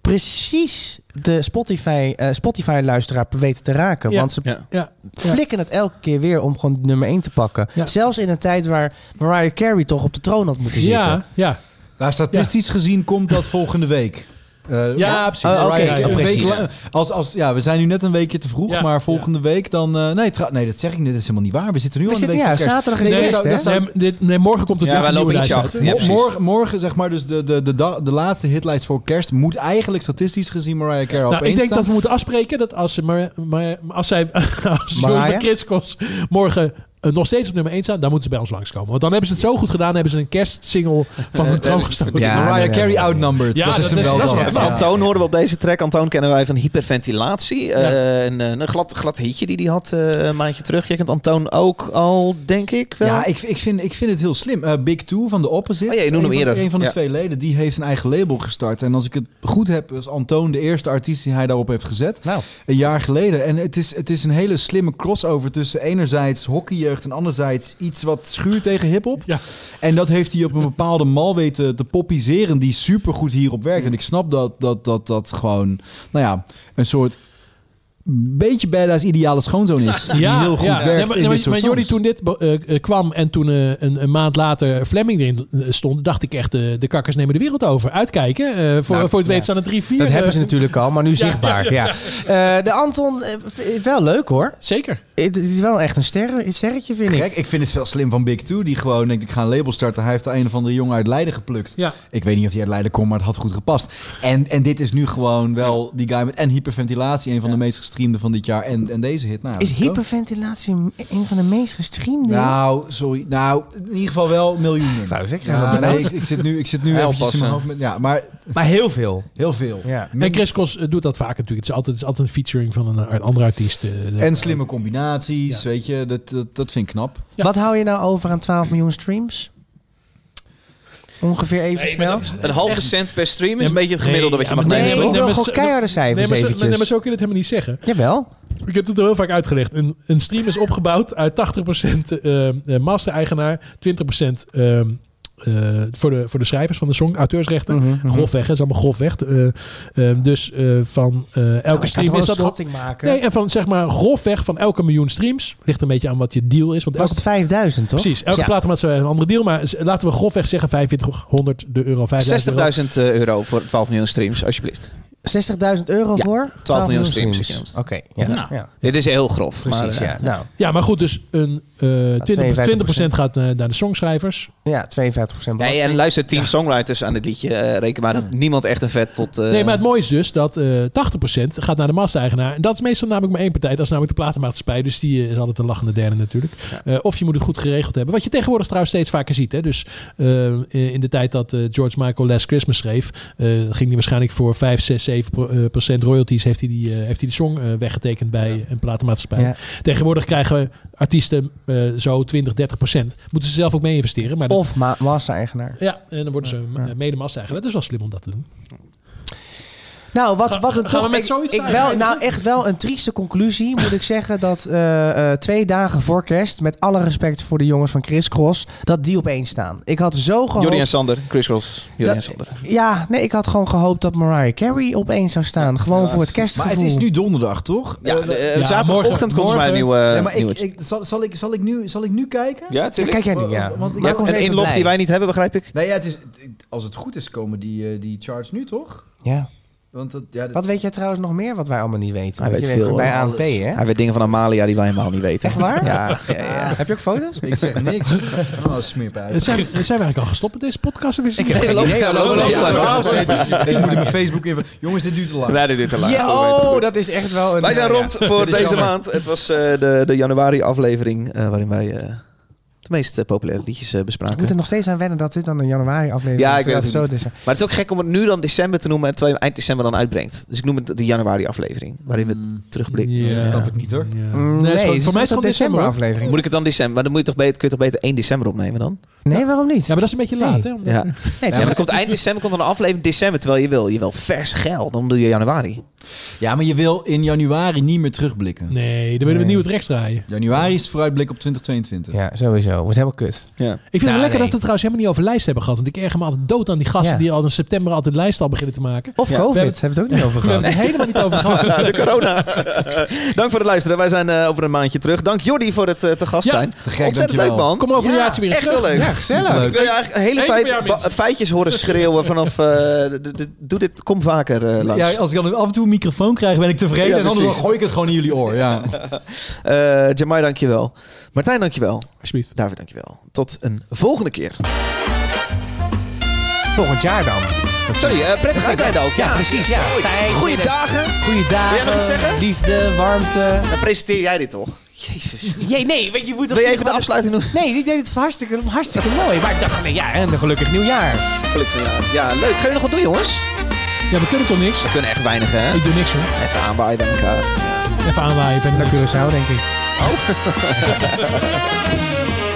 precies de Spotify, eh, Spotify-luisteraar weten te raken.
Ja.
Want ze
Ja.
Ja, ja.
flikken het elke keer weer om gewoon nummer 1 te pakken.
Ja.
Zelfs in een tijd waar Mariah Carey toch op de troon had moeten zitten.
ja, ja.
Nou, statistisch gezien komt dat volgende week. Eh,
Ja, precies.
Mariah
Oh, oké,
Carey,
ja,
een
precies.
week la- als, als, ja, we zijn nu net een weekje te vroeg,
Ja,
maar volgende week dan... eh, nee, tra- nee, dat zeg ik niet. Dat is helemaal niet waar. We zitten nu
We
al een
zitten,
week
ja,
voor kerst.
zaterdag is
Nee,
het
dat
Nee,
eerst,
zou-
hè?
dat zou-
nee, nee, nee, morgen komt het
Ja,
weer
wij
een
lopen
nieuwe
ietsje
lijst
achter.
uit.
Ja,
Mo-
precies.
morgen, morgen, zeg maar, dus de, de, de, da- de laatste hitlijst voor kerst moet eigenlijk statistisch gezien Mariah Carey op
Nou, ik
één
denk
staan.
dat eh, we moeten afspreken dat als, ze maar, maar, als zij als jongens
Mariah?
van Chris Cross morgen eh, nog steeds op nummer 1 staan, dan moeten ze bij ons langskomen. Want dan hebben ze het zo goed gedaan, hebben ze een kerstsingle van hun troon gestoten.
Ja, nee,
Mariah
nee,
Carey
nee.
outnumbered.
Ja,
dat is
dat
hem
is-
wel
dat is
dan.
wel-
Ja.
Antoon hoorden we op deze track. Antoon kennen wij van hyperventilatie. Eh, een, eh, een glad, glad hitje die hij had eh, een maandje terug. Je kent Antoon ook al, denk ik wel.
Ja, ik, ik, vind, ik vind het heel slim. Eh, Big Two van de Opposites.
Oh ja, je noemde
een
hem
van-
eerder.
Een van de
Ja.
twee leden, die heeft een eigen label gestart. En als ik het goed heb, is Antoon de eerste artiest die hij daarop heeft gezet.
Nou.
Een jaar geleden. En het is, het is een hele slimme crossover tussen enerzijds hockeyjeugd en anderzijds iets wat schuurt tegen hiphop.
Ja.
En dat heeft hij op een bepaalde mal weten te poppiseren die supergoed hierop werkt. En ik snap dat dat, dat, dat gewoon, nou ja, een soort beetje badass ideale schoonzoon is. die heel goed werkt
Ja, maar,
in
maar,
dit soort
maar Jordi,
songs.
toen dit eh, eh, kwam en toen eh, een, een maand later Fleming erin stond, dacht ik echt, eh, de kakkers nemen de wereld over. Uitkijken, eh, voor,
Nou,
voor het
ja.
weet staan er drie, vier.
Dat
eh,
hebben ze natuurlijk al, maar nu zichtbaar. Ja, Eh, de Anton, eh, v- wel leuk hoor.
Zeker.
Het het is wel echt een, ster, een sterretje, vind ik.
Gek, ik vind het wel slim van Big Two, die gewoon denkt, ik ga een label starten. Hij heeft de een of andere jongen uit Leiden geplukt.
Ja.
Ik weet niet of hij uit Leiden komt, maar het had goed gepast. En, en dit is nu gewoon wel die guy met en hyperventilatie, een van de meest gestreamde van dit jaar. En, en deze hit. Nou,
Is
let's go.
hyperventilatie een van de meest gestreamde?
Nou, sorry. Nou, in ieder geval wel miljoenen.
zou zeggen,
Ja,
dat
nee, ik,
bedoelt-
ik zit nu, ik zit nu
Heel
eventjes in mijn
passen.
hoofd met... Ja, maar
Maar heel veel.
heel veel.
Ja.
En Chris Cross eh, doet dat vaak natuurlijk. Het is altijd, het is altijd een featuring van een, eh, andere artiest. eh,
En slimme combinaties, weet je. Dat, dat, dat vind ik knap.
Ja.
Wat hou je nou over aan 12 miljoen streams? Ongeveer even snel.
een halve cent per stream is
Nee,
een beetje het gemiddelde wat je
nee,
mag
nee,
maar-
nemen,
ik
toch?
wil
nee, maar
gewoon
ze-
keiharde
Nee,
cijfers
maar, zo, nee,
eventjes.
maar zo kun je het helemaal niet zeggen.
Jawel.
Ik heb het er heel vaak uitgelegd. Een, een stream is opgebouwd uit 80% eh, eh, master-eigenaar, 20% ehm, eh, voor, de, voor de schrijvers van de song, auteursrechten.
Mhm,
Grofweg, hè, is allemaal grofweg. Eh, ehm, dus eh, van eh, elke
Ik kan
stream
toch
is
een
dat...
schatting maken.
Nee, en van zeg maar grofweg van elke miljoen streams. Ligt een beetje aan wat je deal is. Want
was
elke,
het 5000, toch?
precies, elke
Ja.
platenmaatschappij heeft een andere deal. Maar z- laten we grofweg zeggen 2500 de euro, 5000 euro.
60.000 eh, euro voor 12 miljoen streams, alsjeblieft.
60.000 euro
Ja,
voor?
12 miljoen streams.
Oké, ja.
Nou,
ja.
Dit is heel grof. maar,
Precies,
eh,
ja. Nou,
Ja, maar goed, dus een, eh 20%,
52%.
gaat eh, naar de songschrijvers.
ja, 52
Nee, en luister, tien songwriters aan dit liedje. eh, reken maar dat
Hmm.
niemand echt een vetpot... eh
Nee, maar het mooie is dus dat eh 80% gaat naar de massa-eigenaar. En dat is meestal namelijk maar één partij. Dat is namelijk de platenmaatschappij. Dus die eh, is altijd de lachende derde natuurlijk. Eh, of je moet het goed geregeld hebben. Wat je tegenwoordig trouwens steeds vaker ziet. Hè? Dus eh, in de tijd dat eh, George Michael Last Christmas schreef... eh, ging hij waarschijnlijk voor 5, 6, 7 pro- eh, procent royalties... heeft hij die, eh, heeft hij die song eh, weggetekend bij een platenmaatschappij.
Ja.
Tegenwoordig krijgen artiesten eh, zo 20, 30 procent. Moeten ze zelf ook mee investeren. Maar dat-
Of ma massa-eigenaar.
ja, en dan worden ze eh, mede massa-eigenaar. Dat is wel slim om dat te doen.
Nou, wat, wat een
gaan
toch,
we met
ik-
zoiets
ik, wel,
eindigen?
Nou, echt wel een trieste conclusie moet ik zeggen. Dat eh, eh, twee dagen voor kerst, met alle respect voor de jongens van Chris Cross, dat die op één staan. Ik had zo gehoopt...
Jordi en Sander, Chris Cross, Jordi
Dat-
en Sander.
Ja, nee, ik had gewoon gehoopt dat Mariah Carey op één zou staan. gewoon voor het
Maar
kerstgevoel.
het is nu donderdag, toch?
Ja,
Eh,
de- eh,
ja,
zaterdagochtend
morgen-
komt er mij een
morgen-
nieuwe...
ja, maar ik,
nieuwe-
ik, zal, zal, ik, zal, ik nu, zal ik nu kijken?
ja, tuurlijk.
Kijk jij nu, ja.
Want- want-
Maak
Je hebt
ons
een
even
inlog
blij.
die wij niet hebben, begrijp ik.
Nee, ja, het is, als het goed is, komen die, eh, die charts nu toch?
Ja.
Want dat, ja, dat-
Wat weet jij trouwens nog meer wat wij allemaal niet weten?
Hij
Want
weet
je werkt
veel,
bij
hoor.
ANP, hè?
Hij weet dingen van Amalia die wij helemaal niet weten.
Echt waar? Ah.
Ja, ja, ja.
Heb je ook foto's?
ik zeg niks. Oh, smeerpijp.
Eh, Zijn, zijn we eigenlijk al gestopt met deze podcast? Of is het
heb geen idee. Ja, lopen, lopen,
Ja,
lopen.
ja, ja. Ik moet in mijn Facebook even... Jongens, dit duurt te lang.
Wij doen dit te lang.
Ja,
Goed, weet ik
oh,
goed.
dat is echt wel een... eh,
Wij zijn
ja.
rond voor
Dit is
deze
jammer.
maand. Het was eh, de, de januari-aflevering eh, waarin wij eh, de meest eh, populaire liedjes eh,
Ik moet er
bespraken.
nog steeds aan wennen dat dit dan een januari aflevering
Ja,
is.
ik weet
dat
het
zo
niet.
te zeggen.
Maar het is ook gek om het nu dan december te noemen en terwijl je hem eind december dan uitbrengt. Dus ik noem het de januari-aflevering, waarin we terugblikken.
Dat snap ik niet, hoor.
Ja.
Mm,
Nee, het is gewoon-
het
voor mij is het
een
al december. hoor.
aflevering.
Moet ik het dan december? Maar dan moet je toch beter, kun je toch beter 1 december opnemen dan?
Nee, waarom niet?
Ja, maar dat is een beetje laat, hè?
Ja.
Omdat-
ja
nee,
maar dan komt eind december komt dan een aflevering december, terwijl je wil. Je wil vers geld, dan doe je januari.
Ja, maar je wil in januari niet meer terugblikken.
Nee, dan willen we
Nee.
nieuw het rechts draaien.
Januari is vooruitblik op 2022.
Ja, sowieso. Wordt helemaal kut.
Ja.
Ik vind
Nou,
het lekker
nee.
dat we het trouwens helemaal niet over lijst hebben gehad. Want ik erger me altijd dood aan die gasten
Ja.
die al in september altijd lijsten al beginnen te maken.
Of
Ja,
COVID.
we hebben-
Hebben we het ook niet over
We hebben
gehad.
het er helemaal niet over gehad.
de corona. Dank voor het luisteren. Wij zijn eh, over een maandje terug. Dank Jordi voor het eh, te gast
Ja,
zijn.
te gek,
Ontzettend
dankjewel.
leuk man.
Kom over een jaartje weer eens
Echt heel
terug.
leuk.
Ja, gezellig.
Leuk.
Ik wil je eigenlijk de hele
Eén per
tijd
jaar
ba-
minstens.
feitjes horen schreeuwen vanaf... eh, de- de- doe dit, kom vaker eh, langs.
Ja, als ik dan af en toe een microfoon krijg, ben ik tevreden.
Ja,
en anders dan
precies.
gooi ik het gewoon in jullie oor. Ja.
Eh, Jamai, dankjewel. Martijn, dankjewel.
Alsjeblieft.
David, dankjewel. Tot een volgende keer.
Volgend jaar dan.
Sorry, eh, prettig uitrijden ook. Ja,
precies. Ja.
Mooi.
Fijn.
Goeie dagen.
Goeie dagen.
Wil jij nog iets zeggen?
Liefde, warmte.
Dan presenteer jij dit toch? Jezus.
Jee, nee, weet je, je moet toch...
Wil je even
niet
de
gewoon-
afsluiting doen?
Nee, die deed het hartstikke, hartstikke mooi. Maar ik dacht, nee, ja, en een gelukkig nieuwjaar.
Gelukkig nieuwjaar. Ja, leuk. Ga je nog wat doen, jongens?
Ja, we kunnen toch niks?
We kunnen echt weinig, hè?
Ik doe niks hoor.
Even aanwaaien bij elkaar.
Even aanwaaien. Ik ben
Naar Curaçao, denk ik.
Oh.